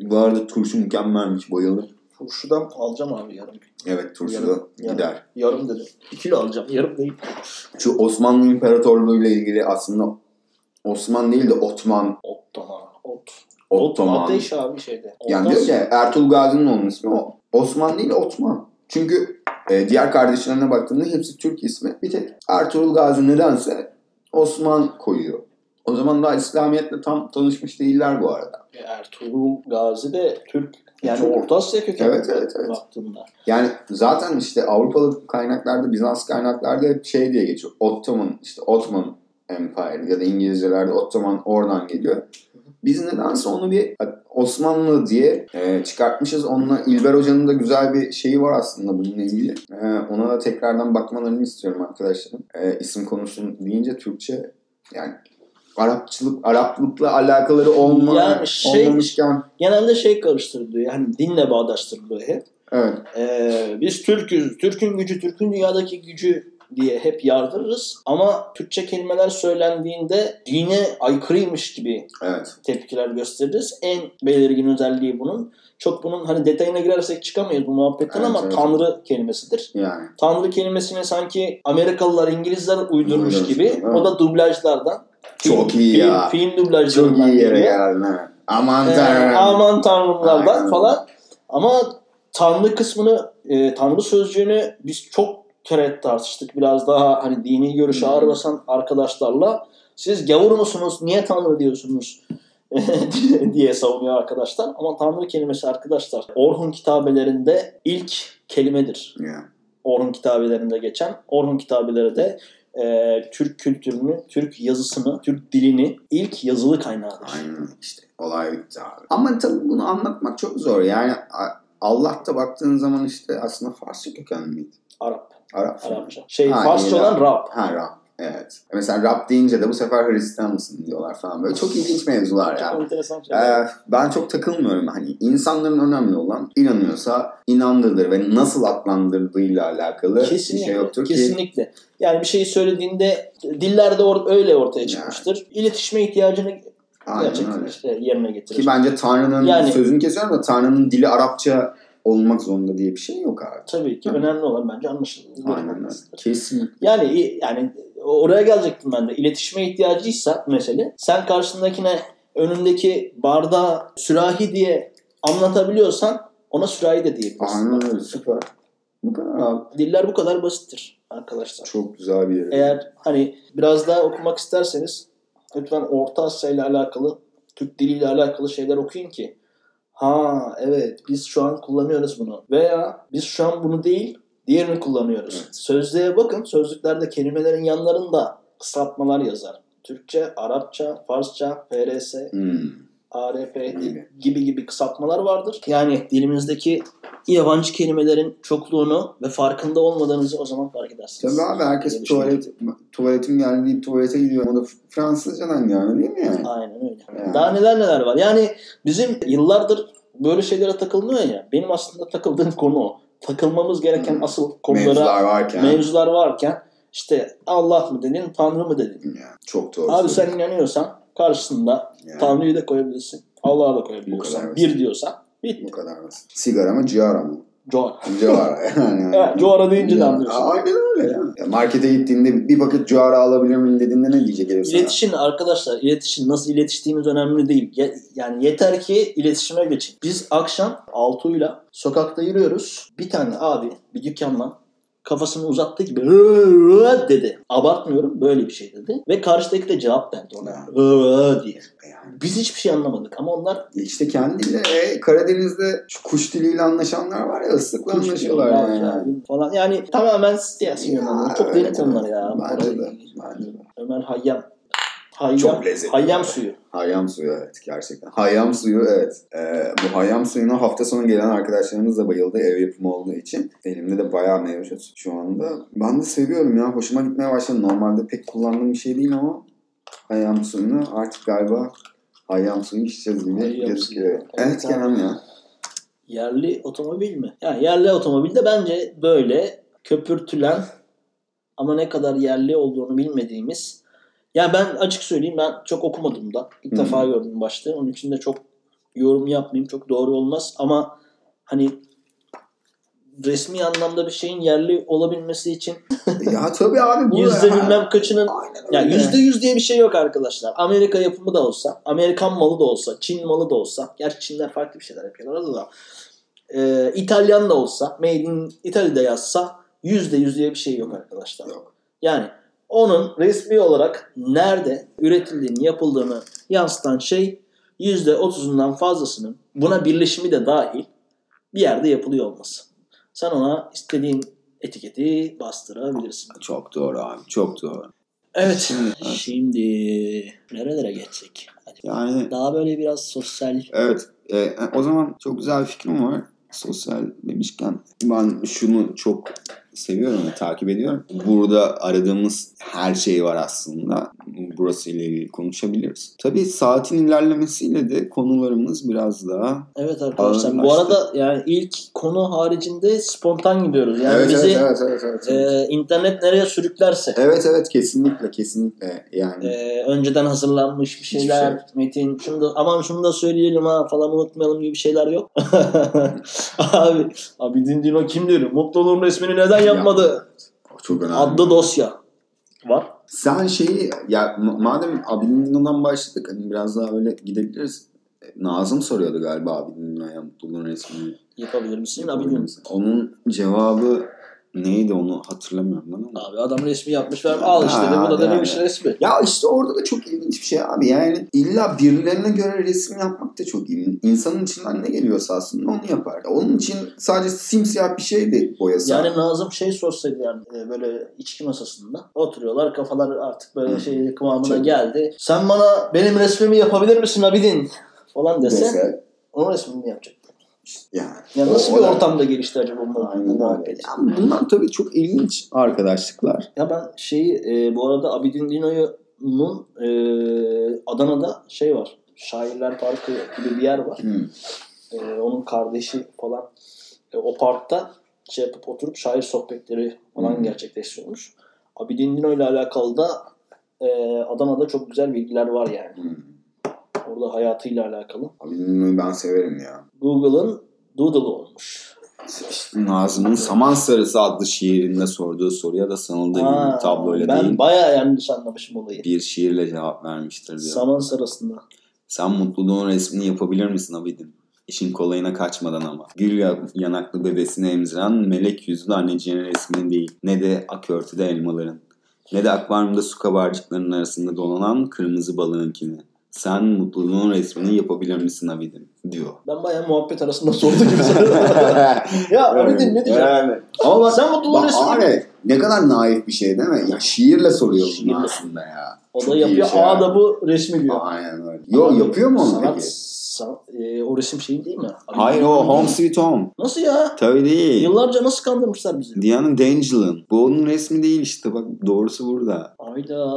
Speaker 2: Bu arada turşu mükemmelmiş. Bayılır.
Speaker 1: Turşudan alacağım abi yarım.
Speaker 2: Evet turşu
Speaker 1: Yarım,
Speaker 2: da
Speaker 1: yarım.
Speaker 2: gider.
Speaker 1: Yarım dedim. Bir kilo alacağım. Yarım değil.
Speaker 2: Şu Osmanlı İmparatorluğu ile ilgili aslında Osman değil de Otman.
Speaker 1: Ot da ha, Ot. Ot
Speaker 2: Ottoman.
Speaker 1: ateş abi şeyde.
Speaker 2: Yani
Speaker 1: Ondan
Speaker 2: diyor ki Ertuğrul Gazi'nin onun ismi o. Osman değil Otman. Çünkü e, diğer kardeşlerine baktığında hepsi Türk ismi. Bir tek Ertuğrul Gazi nedense Osman koyuyor. O zaman daha İslamiyet'le tam tanışmış değiller bu arada.
Speaker 1: sonra Ertuğrul Gazi de Türk. Yani
Speaker 2: Çok-
Speaker 1: Orta Asya kökenli
Speaker 2: Evet, evet, evet.
Speaker 1: baktığında.
Speaker 2: Yani zaten işte Avrupalı kaynaklarda, Bizans kaynaklarda hep şey diye geçiyor. Ottoman, işte Ottoman Empire ya da İngilizcelerde Ottoman oradan geliyor. Biz nedense onu bir Osmanlı diye e, çıkartmışız. Onunla İlber Hoca'nın da güzel bir şeyi var aslında bununla ilgili. E, ona da tekrardan bakmalarını istiyorum arkadaşlarım. E, isim konusunu deyince Türkçe yani Arapçılık, Araplıkla alakaları olma,
Speaker 1: Yani şey-
Speaker 2: olmamışken
Speaker 1: genelde şey karıştırılıyor. Yani dinle bağdaştırılıyor hep.
Speaker 2: evet,
Speaker 1: Ee, biz Türk'üz. Türk'ün gücü, Türk'ün dünyadaki gücü diye hep yardırırız. Ama Türkçe kelimeler söylendiğinde dine aykırıymış gibi
Speaker 2: evet.
Speaker 1: tepkiler gösteririz. En belirgin özelliği bunun. Çok bunun hani detayına girersek çıkamayız bu muhabbetten
Speaker 2: Evet,
Speaker 1: ama
Speaker 2: evet.
Speaker 1: tanrı kelimesidir.
Speaker 2: Yani
Speaker 1: Tanrı kelimesini sanki Amerikalılar, İngilizler uydurmuş
Speaker 2: Uydurmuş,
Speaker 1: gibi.
Speaker 2: evet.
Speaker 1: O da dublajlardan.
Speaker 2: çok
Speaker 1: Film-
Speaker 2: iyi
Speaker 1: film-
Speaker 2: ya.
Speaker 1: Film,
Speaker 2: Çok
Speaker 1: dublajlarından.
Speaker 2: iyi yere
Speaker 1: geliyor.
Speaker 2: geldin. ha. Aman
Speaker 1: Ee,
Speaker 2: tanrım.
Speaker 1: aman tanrımlardan
Speaker 2: Aynen.
Speaker 1: falan. Ama tanrı kısmını, e, tanrı sözcüğünü biz çok kere tartıştık. Biraz daha hani dini görüşe
Speaker 2: Hı.
Speaker 1: ağır basan arkadaşlarla. Siz gavur musunuz? Niye tanrı diyorsunuz? (laughs) diye savunuyor arkadaşlar. Ama tanrı kelimesi arkadaşlar Orhun kitabelerinde ilk kelimedir.
Speaker 2: Ya.
Speaker 1: Orhun kitabelerinde geçen. Orhun kitabeleri de e, Türk kültürünü, Türk yazısını, Türk dilini ilk yazılı kaynağıdır.
Speaker 2: Aynen işte. Olay bitti abi. Ama tabii bunu anlatmak çok zor. Yani a- Allah da baktığın zaman işte aslında Farsça kökenliydi.
Speaker 1: Arap.
Speaker 2: Arap.
Speaker 1: Arapça. Şey
Speaker 2: Ha,
Speaker 1: Farsça
Speaker 2: iyi
Speaker 1: olan
Speaker 2: ya.
Speaker 1: Rab.
Speaker 2: Ha Rab. Evet. Mesela rap deyince de bu sefer Hristiyan mısın diyorlar falan böyle. Çok ilginç mevzular ya.
Speaker 1: Çok enteresan şeyler.
Speaker 2: Ee, ben çok takılmıyorum. Hani insanların önemli olan inanıyorsa inandırılır ve nasıl adlandırdığıyla alakalı
Speaker 1: Kesinlikle.
Speaker 2: bir şey yoktur ki.
Speaker 1: kesinlikle. Yani bir şeyi söylediğinde diller de or- öyle ortaya çıkmıştır. İletişime ihtiyacını
Speaker 2: Aynen
Speaker 1: gerçekten
Speaker 2: öyle.
Speaker 1: işte yerine getirir.
Speaker 2: Ki bence Tanrı'nın
Speaker 1: Yani-
Speaker 2: sözünü kesiyorum da Tanrı'nın dili Arapça olmak zorunda diye bir şey yok abi.
Speaker 1: Tabii ki
Speaker 2: Hı.
Speaker 1: önemli olan bence anlaşılması.
Speaker 2: Aynen öyle. Kesin.
Speaker 1: Yani yani oraya gelecektim ben de. İletişime ihtiyacıysa mesele sen karşındakine önündeki bardağı sürahi diye anlatabiliyorsan ona sürahi de diyebilirsin.
Speaker 2: Aynen öyle. Süper. Bu kadar abi.
Speaker 1: Diller bu kadar basittir arkadaşlar.
Speaker 2: Çok güzel bir yer.
Speaker 1: Eğer hani biraz daha okumak isterseniz lütfen Orta Asya ile alakalı, Türk diliyle alakalı şeyler okuyun ki ha evet biz şu an kullanıyoruz bunu veya biz şu an bunu değil diğerini kullanıyoruz.
Speaker 2: Evet.
Speaker 1: Sözlüğe bakın sözlüklerde kelimelerin yanlarında kısaltmalar yazar. Türkçe, Arapça, Farsça, FRS,
Speaker 2: Hmm.
Speaker 1: ARP
Speaker 2: Gibi.
Speaker 1: gibi gibi kısaltmalar vardır. Yani dilimizdeki yabancı kelimelerin çokluğunu ve farkında olmadığınızı o zaman fark edersiniz.
Speaker 2: Tabii abi herkes
Speaker 1: Diye düşünüyorum.
Speaker 2: tuvalet, tuvaletim geldi deyip tuvalete gidiyor. O da Fransızcadan geldi değil mi yani?
Speaker 1: Aynen öyle.
Speaker 2: Yani.
Speaker 1: Daha neler neler var. Yani bizim yıllardır böyle şeylere takılmıyor ya. Benim aslında takıldığım konu o. Takılmamız gereken
Speaker 2: Hı.
Speaker 1: asıl konulara
Speaker 2: Hmm. Mevzular varken.
Speaker 1: mevzular varken işte Allah mı dedin, Tanrı mı dedin?
Speaker 2: Yani çok doğru.
Speaker 1: Abi sen
Speaker 2: söylüyorsun.
Speaker 1: inanıyorsan karşısında
Speaker 2: Yani
Speaker 1: Tanrı'yı da koyabilirsin. Allah'ı da
Speaker 2: Bu kadar
Speaker 1: koyabiliyorsan.
Speaker 2: basit.
Speaker 1: Bir diyorsan bitti.
Speaker 2: bu kadar basit. Sigara mı ciğara mı?
Speaker 1: Joy.
Speaker 2: Hmm.
Speaker 1: (laughs)
Speaker 2: Ciğara yani.
Speaker 1: Evet, Joara deyince de
Speaker 2: Yani,
Speaker 1: anlıyorsun.
Speaker 2: Aynen öyle ya. Ya Markete gittiğinde bir paket ciğara alabilir miyim dediğinde ne diyecek herif sana?
Speaker 1: İletişim arkadaşlar iletişim nasıl iletiştiğimiz önemli değil. Ye- yani yeter ki iletişime geçin. Biz akşam Altuğ'yla sokakta yürüyoruz. Bir tane abi bir dükkanla kafasını uzattığı gibi "Hı-hı" dedi. Abartmıyorum böyle bir şey dedi. Ve karşıdaki de cevap verdi ona. "Hı-hı" diye.
Speaker 2: Yani
Speaker 1: Biz hiçbir şey anlamadık ama onlar
Speaker 2: işte kendiyle e, Karadeniz'de şu kuş diliyle anlaşanlar var ya ıslıkla anlaşıyorlar yani.
Speaker 1: falan. Yani tamamen siyasi yönelim. Çok
Speaker 2: öyle
Speaker 1: derin konular ya.
Speaker 2: Bence de. Bence de.
Speaker 1: Ömer Hayyam. Hayyam,
Speaker 2: Çok lezzetli.
Speaker 1: Hayyam suyu.
Speaker 2: Hayyam suyu evet gerçekten. Hayyam suyu evet. Ee, bu hayyam suyuna hafta sonu gelen arkadaşlarımız da bayıldı ev yapımı olduğu için. Elimde de bayağı mevcut şu anda. Ben de seviyorum ya hoşuma gitmeye başladı. Normalde pek kullandığım bir şey değil ama hayyam suyunu artık galiba hayyam suyu içeceğiz gibi
Speaker 1: Hayyam
Speaker 2: gözüküyor.
Speaker 1: suyu.
Speaker 2: Evet
Speaker 1: Evet abi.
Speaker 2: Kerem ya.
Speaker 1: Yerli otomobil mi? Yani yerli otomobil de bence böyle köpürtülen ama ne kadar yerli olduğunu bilmediğimiz. Yani ben açık söyleyeyim ben çok okumadım da. İlk
Speaker 2: Hı hı.
Speaker 1: defa gördüm başta. Onun için de çok yorum yapmayayım. Çok doğru olmaz ama hani resmi anlamda bir şeyin yerli olabilmesi için
Speaker 2: ya tabii abi bu
Speaker 1: yüzde
Speaker 2: ya.
Speaker 1: bilmem kaçının
Speaker 2: Aynen öyle.
Speaker 1: ya yüzde yüz diye bir şey yok arkadaşlar. Amerika yapımı da olsa, Amerikan malı da olsa, Çin malı da olsa. Gerçi Çinler farklı bir şeyler yapıyorlar da. Ee, İtalyan da olsa, Made in Italy'de yazsa yüzde yüz diye bir şey yok arkadaşlar.
Speaker 2: Yok.
Speaker 1: Yani onun resmi olarak nerede üretildiğini, yapıldığını yansıtan şey yüzde otuzundan fazlasının buna birleşimi de dahil bir yerde yapılıyor olması. Sen ona istediğin etiketi bastırabilirsin.
Speaker 2: Çok doğru abi çok doğru.
Speaker 1: Evet.
Speaker 2: Evet.
Speaker 1: Şimdi nerelere geçsek? Hadi.
Speaker 2: Yani
Speaker 1: Daha böyle biraz sosyal.
Speaker 2: Evet. e, o zaman çok güzel bir fikrim var. Sosyal demişken ben şunu çok seviyorum ve takip ediyorum. Burada aradığımız her şey var aslında. Burası ile ilgili konuşabiliriz. Tabii saatin ilerlemesiyle de konularımız biraz daha
Speaker 1: Evet arkadaşlar.
Speaker 2: Ağırlaştı.
Speaker 1: Bu arada yani ilk konu haricinde spontan gidiyoruz. Yani bizi
Speaker 2: evet evet evet.
Speaker 1: e, internet nereye sürüklerse.
Speaker 2: Evet evet kesinlikle kesinlikle yani.
Speaker 1: e, önceden hazırlanmış bir
Speaker 2: Hiçbir
Speaker 1: şeyler,
Speaker 2: şey yok.
Speaker 1: metin, şunu da, aman şunu da söyleyelim ha falan unutmayalım gibi şeyler yok. (laughs) abi, abi dindiğin o kim diyorum? Mutluluğun resmini neden yapmadı?
Speaker 2: çok önemli.
Speaker 1: Adlı dosya var.
Speaker 2: Sen şeyi ya ma- madem abinin Dino'dan başladık hani biraz daha öyle gidebiliriz. E, Nazım soruyordu galiba abinin Dino'ya mutluluğun resmini.
Speaker 1: Yapabilir misin? Abi,
Speaker 2: Yapabilir misin? Onun cevabı neydi onu hatırlamıyorum ben ama.
Speaker 1: Abi adam resmi yapmış. Ben al işte de bu da
Speaker 2: Ha,
Speaker 1: dememiş
Speaker 2: yani.
Speaker 1: resmi.
Speaker 2: Ya işte orada da çok ilginç bir şey abi. Yani illa birilerine göre resim yapmak da çok ilginç. İnsanın içinden ne geliyorsa aslında onu yapar. Onun için sadece simsiyah bir şey de boyası.
Speaker 1: Yani Nazım şey sorsaydı yani e, böyle içki masasında oturuyorlar kafalar artık böyle
Speaker 2: Hı.
Speaker 1: şey kıvamına
Speaker 2: Çok.
Speaker 1: geldi. Sen bana benim resmimi yapabilir misin Abidin? Falan dese
Speaker 2: Dese,
Speaker 1: onun resmini yapacaktı.
Speaker 2: İşte yani.
Speaker 1: Ya nasıl
Speaker 2: O-
Speaker 1: bir
Speaker 2: o da-
Speaker 1: ortamda gelişti acaba bu
Speaker 2: Aynen öyle.
Speaker 1: muhabbet?
Speaker 2: Ya bunlar tabii çok ilginç arkadaşlıklar.
Speaker 1: Ya ben şeyi e, bu arada Abidin Dino'nun e, Adana'da şey var. Şairler Parkı gibi bir yer var.
Speaker 2: Hmm.
Speaker 1: E, onun kardeşi falan e, o parkta şey yapıp oturup şair sohbetleri falan
Speaker 2: Hmm.
Speaker 1: gerçekleştiriyormuş. Abidin Dino ile alakalı da e, Adana'da çok güzel bilgiler var yani.
Speaker 2: Hmm.
Speaker 1: Orada hayatıyla alakalı.
Speaker 2: Abi Nino'yu ben severim ya.
Speaker 1: Google'ın Doodle olmuş.
Speaker 2: İşte Nazım'ın Saman Sarısı adlı şiirinde sorduğu soruya da sanıldığı
Speaker 1: Ha,
Speaker 2: gibi tabloyla
Speaker 1: ben
Speaker 2: değil
Speaker 1: bayağı yanlış anlamışım olayı.
Speaker 2: bir şiirle cevap vermiştir diyor.
Speaker 1: Saman sırasında.
Speaker 2: Sen mutluluğun resmini yapabilir misin Abidin? İşin kolayına kaçmadan ama. Gül ya- yanaklı bebesini emziren melek yüzlü anneciğinin resmini değil. Ne de ak örtüde elmaların. Ne de akvaryumda su kabarcıklarının arasında dolanan kırmızı balığınkini. Sen mutluluğun resmini yapabilir misin Abidin? Diyor.
Speaker 1: Ben bayağı muhabbet arasında sordu
Speaker 2: (laughs)
Speaker 1: gibi sanırım. ya (laughs) Abidin ne diyeceğim?
Speaker 2: Yani. Ama bak,
Speaker 1: Sen mutluluğun
Speaker 2: bak
Speaker 1: resmi.
Speaker 2: abi, ne kadar naif bir şey değil mi? Ya şiirle soruyor
Speaker 1: Şiirle.
Speaker 2: bunu aslında ya.
Speaker 1: O
Speaker 2: Çok
Speaker 1: da
Speaker 2: iyi
Speaker 1: yapıyor.
Speaker 2: bir şey
Speaker 1: Aa
Speaker 2: abi.
Speaker 1: da bu resmi diyor.
Speaker 2: Aynen öyle. Yo, yapıyor mu onu
Speaker 1: sanat,
Speaker 2: peki?
Speaker 1: san- e, o resim şeyi değil mi? Abidin
Speaker 2: Hayır o
Speaker 1: Dino'nun-
Speaker 2: Home Sweet Home.
Speaker 1: Nasıl ya?
Speaker 2: Tabii değil.
Speaker 1: Yıllarca nasıl kandırmışlar bizi?
Speaker 2: Diana Dangel'ın. Bu onun resmi değil işte bak doğrusu burada.
Speaker 1: Ayda.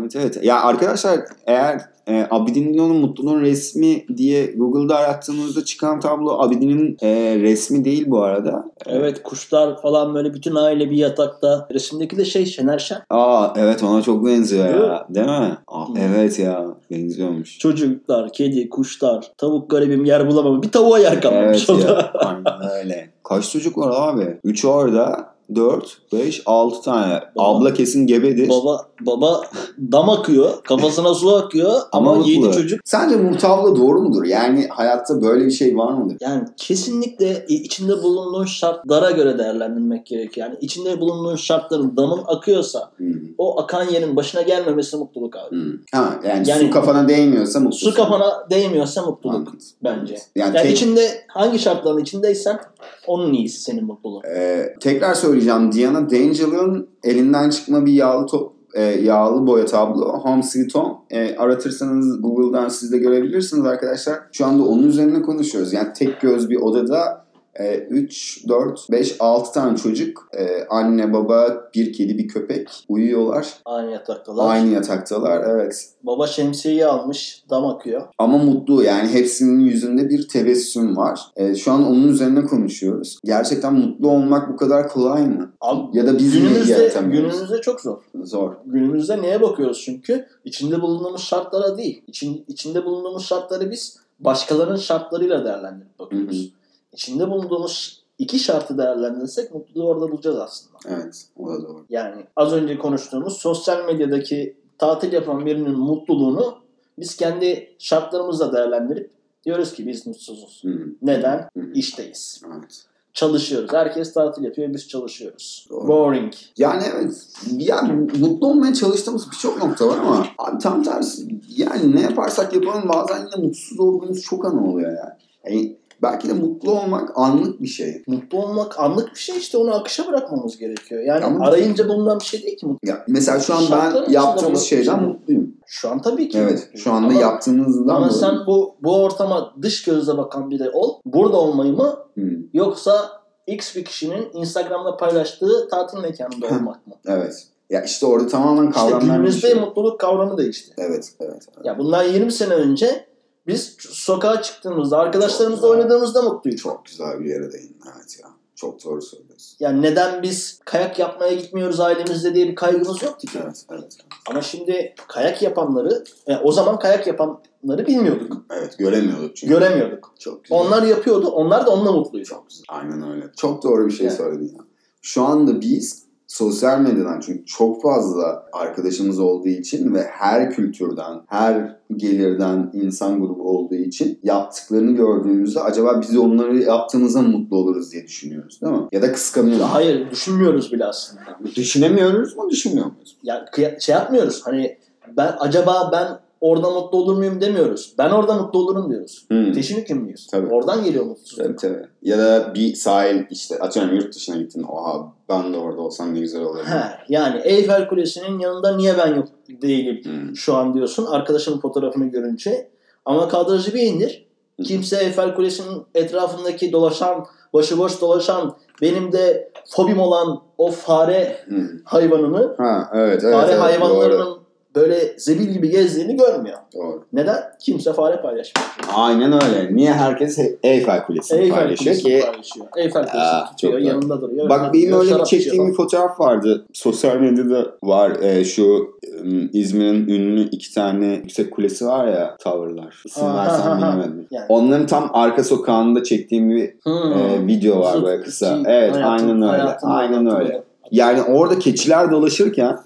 Speaker 2: Evet evet. Ya arkadaşlar eğer e, Abidin Dino'nun mutluluğun resmi diye Google'da arattığınızda çıkan tablo Abidin'in e, resmi değil bu arada. E,
Speaker 1: Evet kuşlar falan böyle bütün aile bir yatakta. Resimdeki de şey Şener Şen.
Speaker 2: Aa evet ona çok benziyor
Speaker 1: Değil
Speaker 2: ya. Değil mi? Aa,
Speaker 1: Hmm.
Speaker 2: evet ya benziyormuş.
Speaker 1: Çocuklar, kedi, kuşlar, tavuk garibim yer bulamam. Bir tavuğa yer kalmamış
Speaker 2: Evet
Speaker 1: orada.
Speaker 2: ya. Aynen öyle. Kaç çocuk var abi? 3 orada. 4, 5, 6 tane.
Speaker 1: Baba-
Speaker 2: Abla kesin gebedir.
Speaker 1: Baba baba dam akıyor, kafasına su akıyor ama,
Speaker 2: mutlu.
Speaker 1: yedi çocuk.
Speaker 2: Sence Murtavla doğru mudur? Yani hayatta böyle bir şey var mıdır?
Speaker 1: Yani kesinlikle e, içinde bulunduğun şartlara göre değerlendirmek gerekiyor. Yani içinde bulunduğun şartların damın akıyorsa o akan yerin başına gelmemesi mutluluk abi.
Speaker 2: Ha, yani,
Speaker 1: Hmm. Yani-
Speaker 2: su kafana değmiyorsa mutlusun.
Speaker 1: Su kafana değmiyorsa mutluluk
Speaker 2: Anladım.
Speaker 1: bence.
Speaker 2: Yani,
Speaker 1: Yani
Speaker 2: tek-
Speaker 1: içinde hangi şartların içindeysen onun iyisi senin mutluluğun.
Speaker 2: e, tekrar söyleyeceğim. Diana Dangel'ın elinden çıkma bir yağlı top e, yağlı boya tablo Home Sweet Home. E, aratırsanız Google'dan siz de görebilirsiniz arkadaşlar. Şu anda onun üzerine konuşuyoruz. Yani tek göz bir odada e, 3, 4, 5, 6 tane çocuk e, anne baba bir kedi bir köpek uyuyorlar.
Speaker 1: Aynı yataktalar.
Speaker 2: Aynı yataktalar evet.
Speaker 1: Baba şemsiyeyi almış, dam akıyor.
Speaker 2: Ama mutlu yani hepsinin yüzünde bir tebessüm var. E, şu an onun üzerine konuşuyoruz. Gerçekten mutlu olmak bu kadar kolay mı?
Speaker 1: Abi,
Speaker 2: Ya da biz niye
Speaker 1: günümüzde,
Speaker 2: yaratamıyoruz?
Speaker 1: günümüzde çok zor.
Speaker 2: Zor.
Speaker 1: Günümüzde neye bakıyoruz çünkü? İçinde bulunduğumuz şartlara değil. İçin, içinde bulunduğumuz şartları biz başkalarının şartlarıyla değerlendirip bakıyoruz.
Speaker 2: Hı
Speaker 1: İçinde bulunduğumuz iki şartı değerlendirsek mutluluğu orada bulacağız aslında.
Speaker 2: Evet o da doğru.
Speaker 1: Yani az önce konuştuğumuz sosyal medyadaki tatil yapan birinin mutluluğunu biz kendi şartlarımızla değerlendirip diyoruz ki biz mutsuzuz.
Speaker 2: Hı hı.
Speaker 1: Neden?
Speaker 2: Hı hı.
Speaker 1: İşteyiz.
Speaker 2: Evet.
Speaker 1: Çalışıyoruz. Herkes tatil yapıyor. Biz çalışıyoruz.
Speaker 2: Doğru.
Speaker 1: Boring.
Speaker 2: Yani evet. Yani mutlu olmaya çalıştığımız birçok nokta var ama abi tam tersi yani ne yaparsak yapalım bazen yine mutsuz olduğumuz çok an oluyor yani. yani belki de mutlu olmak anlık bir şey.
Speaker 1: Mutlu olmak anlık bir şey işte onu akışa bırakmamız gerekiyor. Yani
Speaker 2: Ama-
Speaker 1: arayınca bulunan bir şey değil ki mutlu.
Speaker 2: Ya mesela şu an
Speaker 1: Şartların
Speaker 2: ben
Speaker 1: içinde
Speaker 2: yaptığımız
Speaker 1: bulunan bir
Speaker 2: şeyden
Speaker 1: şey.
Speaker 2: mutluyum.
Speaker 1: Şu an tabii ki.
Speaker 2: Evet
Speaker 1: mutluyum.
Speaker 2: şu anda
Speaker 1: ama,
Speaker 2: yaptığımızdan
Speaker 1: Ama
Speaker 2: dolayı-
Speaker 1: sen bu bu ortama dış gözle bakan biri ol. Burada olmayı mı
Speaker 2: Hı.
Speaker 1: yoksa X bir kişinin Instagram'da paylaştığı tatil mekanında olmak mı?
Speaker 2: Evet. Ya işte orada tamamen
Speaker 1: İşte
Speaker 2: kavramlar
Speaker 1: günümüzde
Speaker 2: değişiyor.
Speaker 1: mutluluk kavramı değişti.
Speaker 2: Evet, evet. evet.
Speaker 1: Ya bundan 20 sene önce biz sokağa çıktığımızda, arkadaşlarımızla
Speaker 2: Çok güzel.
Speaker 1: oynadığımızda mutluyduk.
Speaker 2: Çok güzel bir yere değindin evet ya. Çok doğru söylüyorsun.
Speaker 1: Yani neden biz kayak yapmaya gitmiyoruz ailemizde diye bir kaygımız yoktu ki.
Speaker 2: Evet, evet.
Speaker 1: Ama şimdi kayak yapanları, e, o zaman kayak yapanları bilmiyorduk,
Speaker 2: Evet, göremiyorduk çünkü.
Speaker 1: göremiyorduk.
Speaker 2: Çok güzel.
Speaker 1: Onlar yapıyordu, onlar da onunla mutluydu.
Speaker 2: Çok güzel. Aynen öyle. Çok doğru bir şey
Speaker 1: Evet.
Speaker 2: söyledin ya. Şu anda biz sosyal medyadan çünkü çok fazla arkadaşımız olduğu için ve her kültürden, her gelirden insan grubu olduğu için yaptıklarını gördüğümüzde acaba biz onları yaptığımızda mı mutlu oluruz diye düşünüyoruz değil mi? Ya da kıskanıyoruz.
Speaker 1: Hayır, düşünmüyoruz bile aslında.
Speaker 2: Düşünemiyoruz mu, düşünmüyor muyuz?
Speaker 1: Ya kıya- şey yapmıyoruz. Hani ben acaba ben orada mutlu olur muyum demiyoruz. Ben orada mutlu olurum diyoruz.
Speaker 2: Hmm.
Speaker 1: Teşhir hükümlüyüz.
Speaker 2: Tabii.
Speaker 1: Oradan geliyor mutsuzluk.
Speaker 2: Tabii tabii. Ya da bir sahil işte atıyorum yurt dışına gittin. Oha ben de orada olsam ne güzel olurdu.
Speaker 1: He, yani Eyfel Kulesi'nin yanında niye ben yok değilim
Speaker 2: Hmm.
Speaker 1: şu an diyorsun. Arkadaşının fotoğrafını görünce. Ama kadrajı bir indir. Kimse Eiffel Kulesi'nin etrafındaki dolaşan, başıboş dolaşan, benim de fobim olan o fare
Speaker 2: Hı.
Speaker 1: hayvanını,
Speaker 2: Ha evet evet.
Speaker 1: fare
Speaker 2: evet,
Speaker 1: hayvanlarının
Speaker 2: Doğru,
Speaker 1: böyle zebil gibi gezdiğini görmüyor.
Speaker 2: doğru.
Speaker 1: Neden? Kimse fare paylaşmıyor.
Speaker 2: Aynen öyle. Niye herkes He- Eyfel Kulesi'ni
Speaker 1: Eiffel
Speaker 2: paylaşıyor
Speaker 1: Kulesi'ni
Speaker 2: ki?
Speaker 1: paylaşıyor. Eiffel Kulesi'ni
Speaker 2: Aa,
Speaker 1: tutuyor,
Speaker 2: çok doğru.
Speaker 1: yanında duruyor.
Speaker 2: Bak benim
Speaker 1: diyor,
Speaker 2: öyle bir
Speaker 1: şarap
Speaker 2: çektiğim
Speaker 1: içiyor
Speaker 2: bir fotoğraf vardı. Sosyal medyada var. Ee, şu ım, İzmir'in ünlü iki tane yüksek kulesi var ya tavırlar. İsim
Speaker 1: Aha,
Speaker 2: versen
Speaker 1: aha.
Speaker 2: bilmedim.
Speaker 1: Yani.
Speaker 2: Onların tam arka sokağında çektiğim bir
Speaker 1: falan. Hmm.
Speaker 2: e, video var
Speaker 1: Zıt
Speaker 2: böyle kısa.
Speaker 1: iki
Speaker 2: Evet
Speaker 1: hayatın-
Speaker 2: aynen öyle.
Speaker 1: hayatın-
Speaker 2: aynen
Speaker 1: hayatın
Speaker 2: öyle. Yani orada keçiler dolaşırken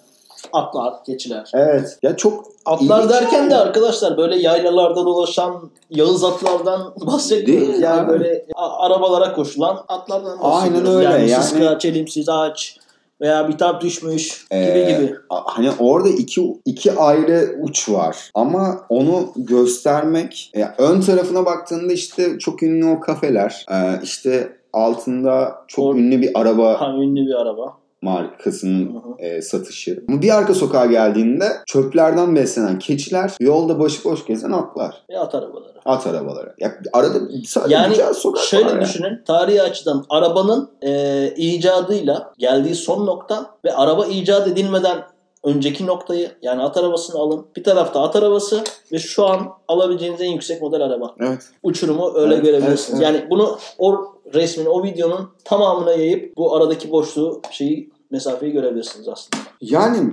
Speaker 1: Atlar, keçiler.
Speaker 2: evet ya çok
Speaker 1: Atlar
Speaker 2: İlginç
Speaker 1: derken
Speaker 2: yani.
Speaker 1: de arkadaşlar böyle yaylalarda dolaşan Yağız atlardan (laughs) bahsetmiyoruz.
Speaker 2: Değil
Speaker 1: yani
Speaker 2: ya.
Speaker 1: böyle a- arabalara koşulan atlardan bahsediyoruz.
Speaker 2: Aynen öyle
Speaker 1: Yani,
Speaker 2: yani.
Speaker 1: sıska, çelimsiz ağaç veya bir tap düşmüş
Speaker 2: Ee,
Speaker 1: gibi gibi.
Speaker 2: a- Hani orada iki, iki ayrı uç var. Ama onu göstermek ya ön tarafına baktığında işte çok ünlü o kafeler. Ee, işte altında çok
Speaker 1: Or-
Speaker 2: ünlü bir araba
Speaker 1: Ha, ünlü bir araba.
Speaker 2: markasının
Speaker 1: Hı hı.
Speaker 2: e, satışı. Ama bir arka sokağa geldiğinde çöplerden beslenen keçiler, yolda başıboş gezen atlar.
Speaker 1: Ve E, at arabaları.
Speaker 2: At arabaları. Ya arada sadece
Speaker 1: Yani
Speaker 2: güzel sokak
Speaker 1: Şöyle
Speaker 2: var ya.
Speaker 1: düşünün tarihi açıdan arabanın e, icadıyla geldiği son nokta ve araba icat edilmeden önceki noktayı yani at arabasını alın. Bir tarafta at arabası ve şu an alabileceğiniz en yüksek model araba.
Speaker 2: Evet.
Speaker 1: Uçurumu öyle
Speaker 2: Evet,
Speaker 1: görebilirsiniz.
Speaker 2: evet,
Speaker 1: Yani bunu o resmin o videonun tamamına yayıp bu aradaki boşluğu şeyi mesafeyi görebilirsiniz aslında.
Speaker 2: Yani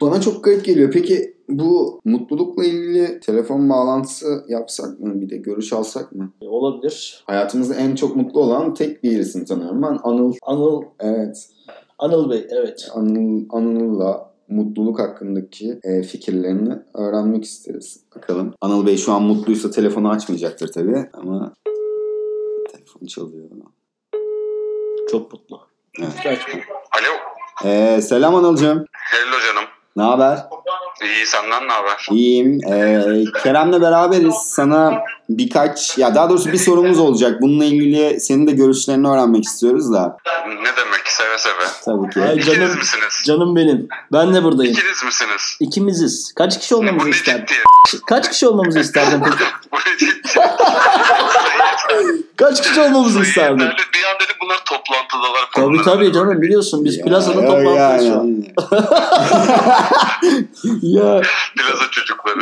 Speaker 2: bana çok garip geliyor. Peki bu mutlulukla ilgili telefon bağlantısı yapsak mı? Bir de görüş alsak mı?
Speaker 1: E, olabilir.
Speaker 2: Hayatımızda en çok mutlu olan tek birisini tanıyorum ben. Anıl.
Speaker 1: Anıl
Speaker 2: Evet.
Speaker 1: Anıl Bey evet.
Speaker 2: Anıl, Anıl'la mutluluk hakkındaki e, fikirlerini öğrenmek isteriz. Bakalım. Anıl Bey şu an mutluysa telefonu açmayacaktır tabii ama telefon çalıyor.
Speaker 1: Çok mutlu.
Speaker 2: Evet.
Speaker 1: Hiç açma.
Speaker 3: Alo.
Speaker 2: E, selam Anıl'cığım.
Speaker 3: Hello canım.
Speaker 2: Ne haber?
Speaker 3: İyi senden ne haber?
Speaker 2: İyiyim. Ee, Kerem'le beraberiz. Sana birkaç, ya daha doğrusu bir sorumuz olacak. Bununla ilgili senin de görüşlerini öğrenmek istiyoruz da.
Speaker 3: Ne demek seve seve.
Speaker 2: Tabii ki.
Speaker 1: Ay
Speaker 3: İkiniz
Speaker 1: canım
Speaker 3: misiniz?
Speaker 1: canım benim. Ben de buradayım.
Speaker 3: İkiniz misiniz?
Speaker 1: İkimiziz. Kaç kişi
Speaker 3: Bu
Speaker 1: olmamızı
Speaker 3: ne
Speaker 1: isterdin?
Speaker 3: ciddi?
Speaker 1: Kaç kişi olmamızı isterdin peki?
Speaker 3: Bu ne ciddi?
Speaker 1: (laughs) Kaç kişi olmamızı isterdin?
Speaker 3: Yeterli. Bir an dedim bunlar toplantıdalar. falan.
Speaker 1: Tabii tabii canım biliyorsun biz
Speaker 2: Ya,
Speaker 1: plazada
Speaker 2: ya,
Speaker 1: toplantıyız
Speaker 2: ya,
Speaker 1: şu an.
Speaker 2: ya
Speaker 3: Plaza çocukları.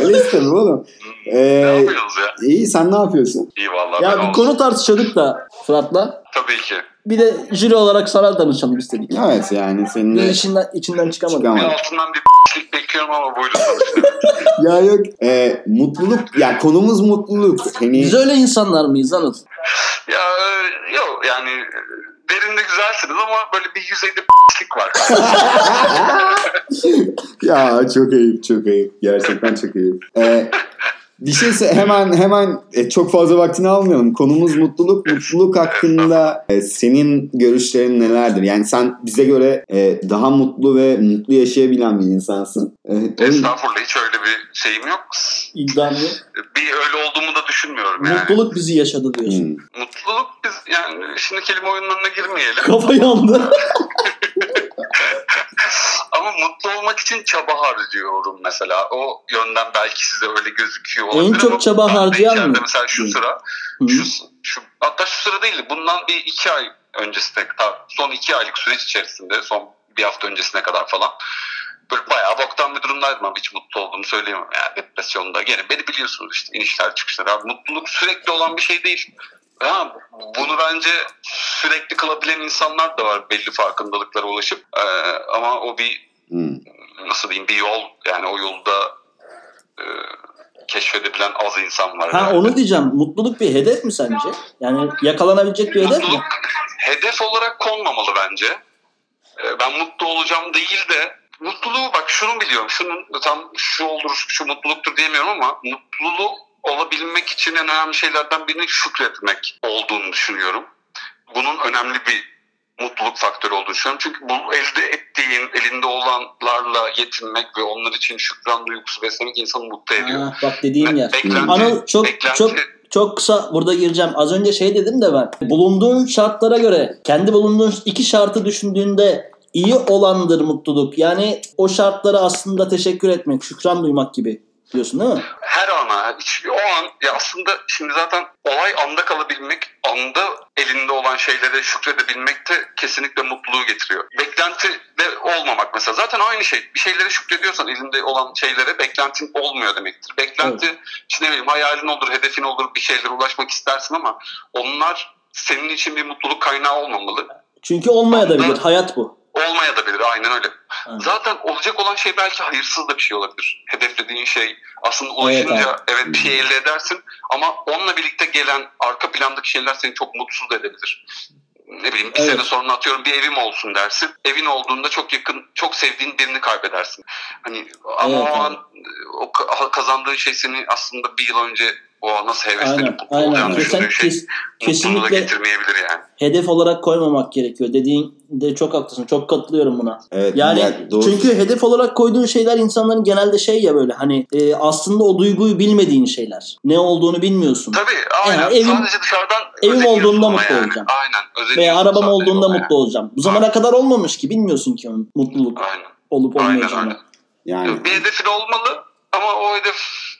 Speaker 2: öyle istedim oğlum.
Speaker 3: Ne
Speaker 2: Ee,
Speaker 3: yapıyoruz ya?
Speaker 2: iyi sen ne yapıyorsun?
Speaker 3: İyi vallahi. ben
Speaker 1: Ya bir
Speaker 3: oldum.
Speaker 1: konu tartışıyorduk da Fırat'la.
Speaker 3: Tabii ki.
Speaker 1: Bir de jüri olarak sana danışalım istedik.
Speaker 2: Evet yani
Speaker 1: Bir
Speaker 2: seninle
Speaker 1: işinden, içinden çıkamadık.
Speaker 3: Bir
Speaker 2: çıkamadım.
Speaker 3: altından bir (laughs) p***lik bekliyorum ama buyurun.
Speaker 2: Ya yok. Ee, mutluluk, ya konumuz mutluluk. Hani
Speaker 1: Biz öyle insanlar mıyız Anıl?
Speaker 3: ya e, yok yani e, derinde güzelsiniz ama böyle bir yüzeyde (laughs)
Speaker 1: (laughs)
Speaker 3: p***lik var.
Speaker 2: ya çok ayıp, çok ayıp. Gerçekten çok ayıp. Ee, bir şeyse hemen hemen e, çok fazla vaktini almayalım. Konumuz mutluluk. Mutluluk hakkında e, senin görüşlerin nelerdir? Yani sen bize göre e, daha mutlu ve mutlu yaşayabilen bir insansın. E, o-
Speaker 3: Estağfurullah hiç öyle bir şeyim yok.
Speaker 1: İddiam yok.
Speaker 3: Bir öyle olduğumu da düşünmüyorum yani.
Speaker 1: Mutluluk bizi yaşadı diyorsun.
Speaker 2: Hmm.
Speaker 3: Mutluluk biz yani şimdi kelime oyunlarına girmeyelim
Speaker 1: Kafa yandı.
Speaker 3: ama mutlu olmak için çaba harcıyorum mesela. O yönden belki size öyle gözüküyor
Speaker 1: En
Speaker 3: olabilir
Speaker 1: çok
Speaker 3: ama
Speaker 1: çaba
Speaker 3: ben de
Speaker 1: harcayan
Speaker 3: içeride
Speaker 1: mı?
Speaker 3: Mesela şu
Speaker 2: Hı.
Speaker 3: sıra,
Speaker 1: Hmm.
Speaker 3: şu, şu, hatta şu sıra değil bundan bir iki ay öncesi de, ta- son iki aylık süreç içerisinde son bir hafta öncesine kadar falan böyle bayağı boktan bir durumdaydım ama hiç mutlu olduğumu söyleyemem yani depresyonda. Gene beni biliyorsunuz işte inişler çıkışlar abi mutluluk sürekli olan bir şey değil. Ha, bunu bence sürekli kılabilen insanlar da var belli farkındalıklara ulaşıp Ee, ama o bir
Speaker 2: Hmm.
Speaker 3: nasıl diyeyim bir yol yani o yolda e, keşfedebilen az insan var.
Speaker 1: Ha
Speaker 3: herhalde.
Speaker 1: onu diyeceğim. Mutluluk bir hedef mi sence? Yani yakalanabilecek bir hedef mi?
Speaker 3: Mutluluk hedef olarak konmamalı bence. Ee, Ben mutlu olacağım değil de mutluluğu bak şunu biliyorum. Şunun tam şu olur şu mutluluktur diyemiyorum ama mutluluğu olabilmek için en önemli şeylerden birinin şükretmek olduğunu düşünüyorum. Bunun önemli bir mutluluk faktörü olduğunu düşünüyorum. Çünkü bu elde ettiğin, elinde olanlarla yetinmek ve onlar için şükran duygusu beslemek insanı mutlu ediyor.
Speaker 1: Ha, bak dediğim yer.
Speaker 3: Beklenti,
Speaker 1: Anıl çok
Speaker 3: beklenti-
Speaker 1: çok çok kısa burada gireceğim. Az önce şey dedim de ben. Bulunduğun şartlara göre kendi bulunduğun iki şartı düşündüğünde iyi olandır mutluluk. Yani o şartlara aslında teşekkür etmek, şükran duymak gibi. diyorsun değil mi?
Speaker 3: her ana, hiç- o an ya aslında şimdi zaten olay anda kalabilmek, anda elinde olan şeylere şükredebilmek de kesinlikle mutluluğu getiriyor. Beklenti de olmamak mesela. Zaten aynı şey. Bir şeylere şükrediyorsan elinde olan şeylere beklentin olmuyor demektir. Beklenti, işte ne bileyim hayalin olur, hedefin olur, bir şeylere ulaşmak istersin ama onlar senin için bir mutluluk kaynağı olmamalı.
Speaker 1: Çünkü olmaya da bilir. Hayat bu.
Speaker 3: Olmaya da bilir aynen öyle.
Speaker 1: Aynen.
Speaker 3: Zaten olacak olan şey belki hayırsız da bir şey olabilir. Hedeflediğin şey aslında ulaşınca
Speaker 1: Evet
Speaker 3: evet, bir şey elde edersin ama onunla birlikte gelen arka plandaki şeyler seni çok mutsuz da edebilir. Ne bileyim bir
Speaker 1: Evet.
Speaker 3: sene sonra atıyorum bir evim olsun dersin. Evin olduğunda çok yakın, çok sevdiğin birini kaybedersin. Hani ama
Speaker 1: Evet,
Speaker 3: o an o ka- kazandığın şey seni aslında bir yıl önce o an nasıl heveslenip
Speaker 1: Aynen.
Speaker 3: mutlu
Speaker 1: Aynen.
Speaker 3: olacağını
Speaker 1: Kesen,
Speaker 3: düşündüğün şey
Speaker 1: kes-
Speaker 3: mutluluğu da
Speaker 1: kesinlikle
Speaker 3: getirmeyebilir yani.
Speaker 1: hedef olarak koymamak gerekiyor. Dediğin de çok haklısın. Çok katılıyorum buna.
Speaker 2: Evet.
Speaker 1: Yani
Speaker 2: ya doğru.
Speaker 1: çünkü hedef olarak koyduğun şeyler insanların genelde şey ya böyle hani e, aslında o duyguyu bilmediğin şeyler. Ne olduğunu bilmiyorsun.
Speaker 3: Tabii aynen.
Speaker 1: Yani evim-
Speaker 3: Sadece dışarıdan
Speaker 1: evim
Speaker 3: özeniyorsun
Speaker 1: olduğunda
Speaker 3: ona
Speaker 1: mutlu
Speaker 3: yani.
Speaker 1: olacağım.
Speaker 3: Aynen.
Speaker 1: Veya
Speaker 3: özeniyorsun
Speaker 1: arabam
Speaker 3: sadece
Speaker 1: olduğunda
Speaker 3: ona
Speaker 1: mutlu olacağım. Bu zamana kadar olmamış ki bilmiyorsun ki onun mutluluk
Speaker 3: yani. Aynen.
Speaker 1: olup
Speaker 3: Aynen
Speaker 1: olmayacağını.
Speaker 3: öyle.
Speaker 2: yani
Speaker 3: Bir hedefin olmalı ama o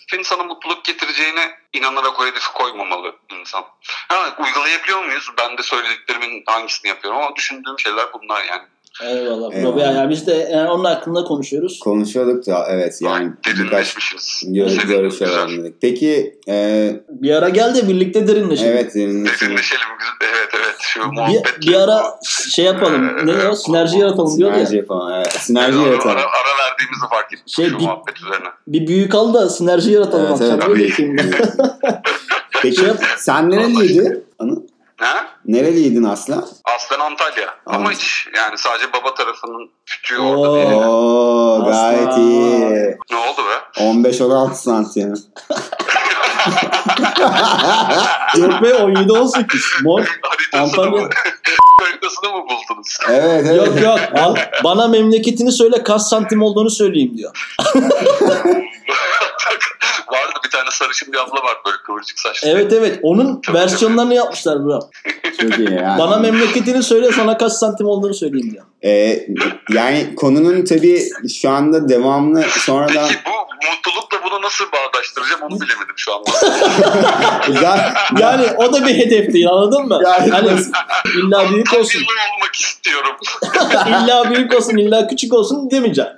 Speaker 3: hedefin sana mutluluk getireceğine inanarak o hedefi koymamalı insan. Ha, uygulayabiliyor muyuz? Ben de söylediklerimin hangisini yapıyorum ama düşündüğüm şeyler bunlar yani.
Speaker 1: Eyvallah.
Speaker 2: Eyvallah.
Speaker 1: Robi ya biz de yani onun hakkında konuşuyoruz.
Speaker 2: konuşuyorduk da evet yani
Speaker 3: Ay,
Speaker 2: birkaç
Speaker 3: Derinleşmişiz.
Speaker 2: gör-
Speaker 3: Sevindim,
Speaker 2: görüş
Speaker 3: güzel.
Speaker 2: öğrendik. Peki e,
Speaker 1: Bir ara gel de birlikte derinleşelim.
Speaker 2: evet derinleşelim.
Speaker 3: Derinleşelim. güzel. Evet evet. Şu
Speaker 1: Bir,
Speaker 3: muhabbetle.
Speaker 1: bir ara şey yapalım. Ne o? Sinerji yaratalım diyor ya.
Speaker 2: Sinerji yapalım. Evet. Sinerji
Speaker 3: Ara,
Speaker 2: yaratalım.
Speaker 3: ara, ara verdiğimizi fark ettim
Speaker 1: Şey,
Speaker 3: şu
Speaker 1: bir-
Speaker 3: muhabbet üzerine.
Speaker 1: Bir büyük al da sinerji yaratalım.
Speaker 2: Evet,
Speaker 1: akşam.
Speaker 2: evet.
Speaker 1: Böyle yapayım.
Speaker 2: Peki
Speaker 1: Şey
Speaker 2: sen nereliydin? Anıl?
Speaker 3: Ha?
Speaker 2: Nereliydin Aslan?
Speaker 3: Aslen Antalya. Ama
Speaker 2: Anladım.
Speaker 3: hiç yani sadece baba tarafının küçüğü
Speaker 1: Oo.
Speaker 3: orada değil.
Speaker 2: Oo gayet
Speaker 1: Aslan.
Speaker 2: iyi.
Speaker 3: Ne oldu be?
Speaker 2: 15-16 santim. (laughs)
Speaker 1: Yok be 17 18.
Speaker 3: (laughs)
Speaker 1: Mor.
Speaker 3: Haritasını
Speaker 1: Antalya.
Speaker 3: mı? (laughs) Haritasını mı buldunuz? (laughs)
Speaker 2: evet evet.
Speaker 1: Yok yok. Al, bana memleketini söyle kaç santim olduğunu söyleyeyim diyor.
Speaker 3: Vardı bir tane sarışın bir abla var böyle kıvırcık saçlı.
Speaker 1: Evet evet. Onun
Speaker 3: Çok
Speaker 1: versiyonlarını yapmışlar bro.
Speaker 2: Çok iyi yani.
Speaker 1: Bana memleketini söyle sana kaç santim olduğunu söyleyeyim diyor.
Speaker 2: Ee, yani konunun tabii şu anda devamlı sonradan
Speaker 3: Peki bu mutlulukla bunu nasıl bağdaştıracağım onu bilemedim şu an.
Speaker 2: Ga-
Speaker 1: Yani o da bir hedef değil anladın mı?
Speaker 2: Yani-
Speaker 1: hani illa büyük olsun.
Speaker 3: Antalyalı olmak istiyorum.
Speaker 1: illa büyük olsun illa küçük olsun demeyeceğim.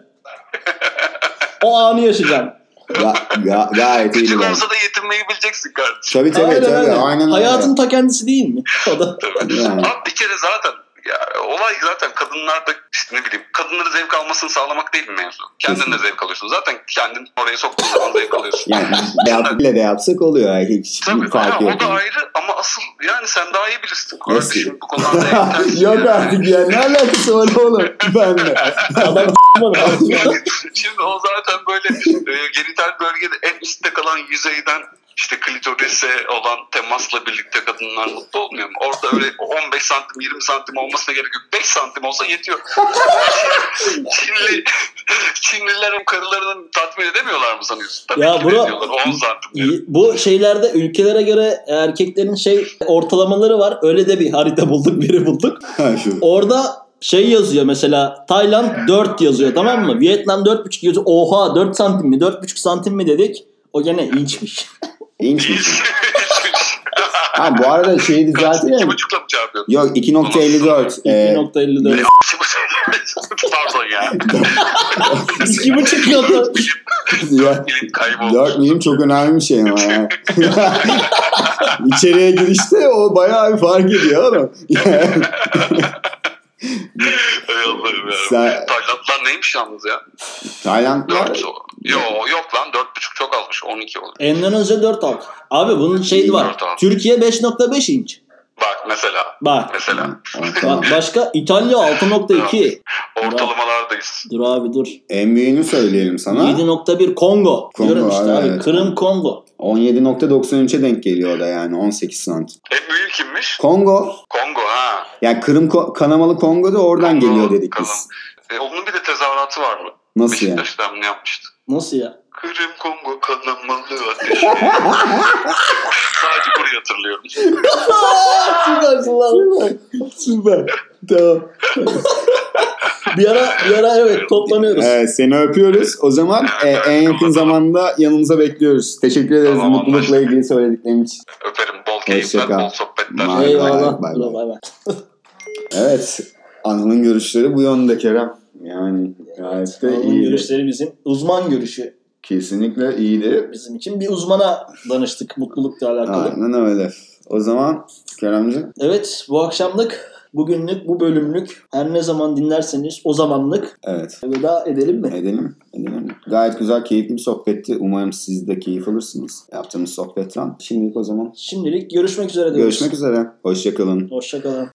Speaker 1: O anı yaşayacağım.
Speaker 2: ga- ga- gayet iyi
Speaker 3: Küçük
Speaker 2: bence.
Speaker 3: olsa da yetinmeyi bileceksin kardeşim.
Speaker 2: Tabii tabii
Speaker 1: Aynen
Speaker 2: tabii.
Speaker 1: öyle.
Speaker 2: Aynen öyle.
Speaker 1: Hayatın ta kendisi değil mi? O da
Speaker 2: Yani.
Speaker 3: Abi bir kere zaten ya, olay zaten kadınlarda işte ne bileyim kadınların zevk almasını sağlamak değil mi mevzu? Kendin de
Speaker 2: Kesinlikle.
Speaker 3: zevk alıyorsun. Zaten kendin oraya soktuğun zaman zevk alıyorsun.
Speaker 2: Yani ne yap- ne de yapsak oluyor. Hiç
Speaker 3: Tabii
Speaker 2: fark
Speaker 3: ha,
Speaker 2: yok.
Speaker 3: o da ayrı ama asıl yani sen daha iyi bilirsin kardeşim bu
Speaker 2: (laughs)
Speaker 3: konularda yetersin
Speaker 2: Yok
Speaker 3: şey yani.
Speaker 2: artık ya ne alakası var oğlum benle.
Speaker 1: adam
Speaker 3: Yani şimdi o zaten böyle e, genital bölgede en üstte kalan yüzeyden işte klitorise olan temasla birlikte kadınlar mutlu olmuyor mu? Orada öyle 15 santim 20 santim olmasına gerek yok. 5 santim olsa
Speaker 2: (laughs)
Speaker 3: yetiyor. Çinli, Çinlilerin karılarını tatmin edemiyorlar mı sanıyorsun? Tabii
Speaker 1: Ya
Speaker 3: ki
Speaker 1: bro-
Speaker 3: ediyorlar. 10 santim diyor.
Speaker 1: Bu şeylerde ülkelere göre erkeklerin şey ortalamaları var. Öyle de bir harita bulduk, biri bulduk.
Speaker 2: Ha şu.
Speaker 1: Orada şey yazıyor mesela Tayland 4 yazıyor tamam mı? Vietnam 4,5 yazıyor. Oha 4 santim mi 4,5 santim mi dedik. O gene inçmiş.
Speaker 2: İnç mi?
Speaker 3: (laughs) Hiç-
Speaker 2: Ha bu arada şeyi
Speaker 3: İki
Speaker 2: düzeltelim.
Speaker 3: buçukla mı çarpıyorsun?
Speaker 2: Yok 2.54. Ee,
Speaker 1: 2.54.
Speaker 3: (laughs) Pardon ya.
Speaker 2: (laughs)
Speaker 1: 2,5 yazıyor.
Speaker 2: ya,
Speaker 3: Bilim (laughs) kayboldu.
Speaker 2: 4 milim çok önemli bir şey ama ya. (laughs) İçeriye girişte o bayağı bir fark ediyor oğlum. (laughs) Yani,
Speaker 3: Ey Allah'ım ya.
Speaker 2: Sen-
Speaker 3: Taylandlar neymiş yalnız ya?
Speaker 2: Taylandlar
Speaker 3: 4 Yo yok lan 4.5 çok almış. 12 olur.
Speaker 1: Endonezya 4 al. Abi bunun şeyi var.
Speaker 3: Dört al.
Speaker 1: Türkiye 5.5 inç.
Speaker 3: Bak mesela.
Speaker 1: Bak.
Speaker 3: Mesela.
Speaker 2: Tamam, tamam.
Speaker 1: Bak başka İtalya 6.2.
Speaker 3: Ortalamalardayız.
Speaker 1: Dur abi dur.
Speaker 2: En büyüğünü söyleyelim sana.
Speaker 1: 7.1 Kongo.
Speaker 2: Kongo
Speaker 1: Diyorum işte
Speaker 2: abi,
Speaker 1: abi.
Speaker 2: evet.
Speaker 1: Kırım Kongo.
Speaker 2: 17.93'e denk geliyor o da yani 18 santim.
Speaker 3: En büyük kimmiş?
Speaker 2: Kongo.
Speaker 3: Kongo ha.
Speaker 2: Yani Kırım Ko- kanamalı Kongo da oradan
Speaker 3: Kongo,
Speaker 2: geliyor dedik biz.
Speaker 3: kanam- E, onun bir de tezahüratı var mı?
Speaker 2: Nasıl
Speaker 3: (laughs)
Speaker 2: yani?
Speaker 3: Beşiktaş'ta ne yapmıştı?
Speaker 1: Nasıl ya?
Speaker 3: Kırım Kongo kanamalı
Speaker 2: (laughs)
Speaker 3: ateşi. Sadece burayı hatırlıyorum.
Speaker 1: Süpersin lan.
Speaker 2: Süper. Tamam.
Speaker 1: (laughs) bir ara, bir ara evet toplanıyoruz.
Speaker 2: Ee, seni öpüyoruz. O zaman e, en yakın zamanda yanımıza bekliyoruz. Teşekkür ederiz
Speaker 3: Tamam,
Speaker 2: mutlulukla
Speaker 3: anlaştık.
Speaker 2: ilgili söylediklerin için.
Speaker 3: Öperim. Bol keyifler,
Speaker 2: Hoşça kal.
Speaker 3: bol sohbetler.
Speaker 2: Bye.
Speaker 1: Eyvallah.
Speaker 2: bay bay.
Speaker 1: Bay bay.
Speaker 2: Evet. Anıl'ın görüşleri bu yönde Kerem. Yani gayet de
Speaker 1: Onun
Speaker 2: iyiydi.
Speaker 1: görüşleri bizim uzman görüşü.
Speaker 2: Kesinlikle iyiydi.
Speaker 1: Bizim için bir uzmana danıştık mutlulukla alakalı.
Speaker 2: Aynen öyle. O zaman Kerem'ciğim
Speaker 1: Evet bu akşamlık, bugünlük, bu bölümlük her ne zaman dinlerseniz o zamanlık
Speaker 2: evet
Speaker 1: veda edelim mi?
Speaker 2: edelim. edelim. Gayet güzel keyifli bir sohbetti. Umarım siz de keyif alırsınız yaptığımız sohbetten. Şimdilik o zaman
Speaker 1: Şimdilik görüşmek üzere diyoruz.
Speaker 2: görüşmek üzere. Hoşçakalın.
Speaker 1: Hoşçakalın.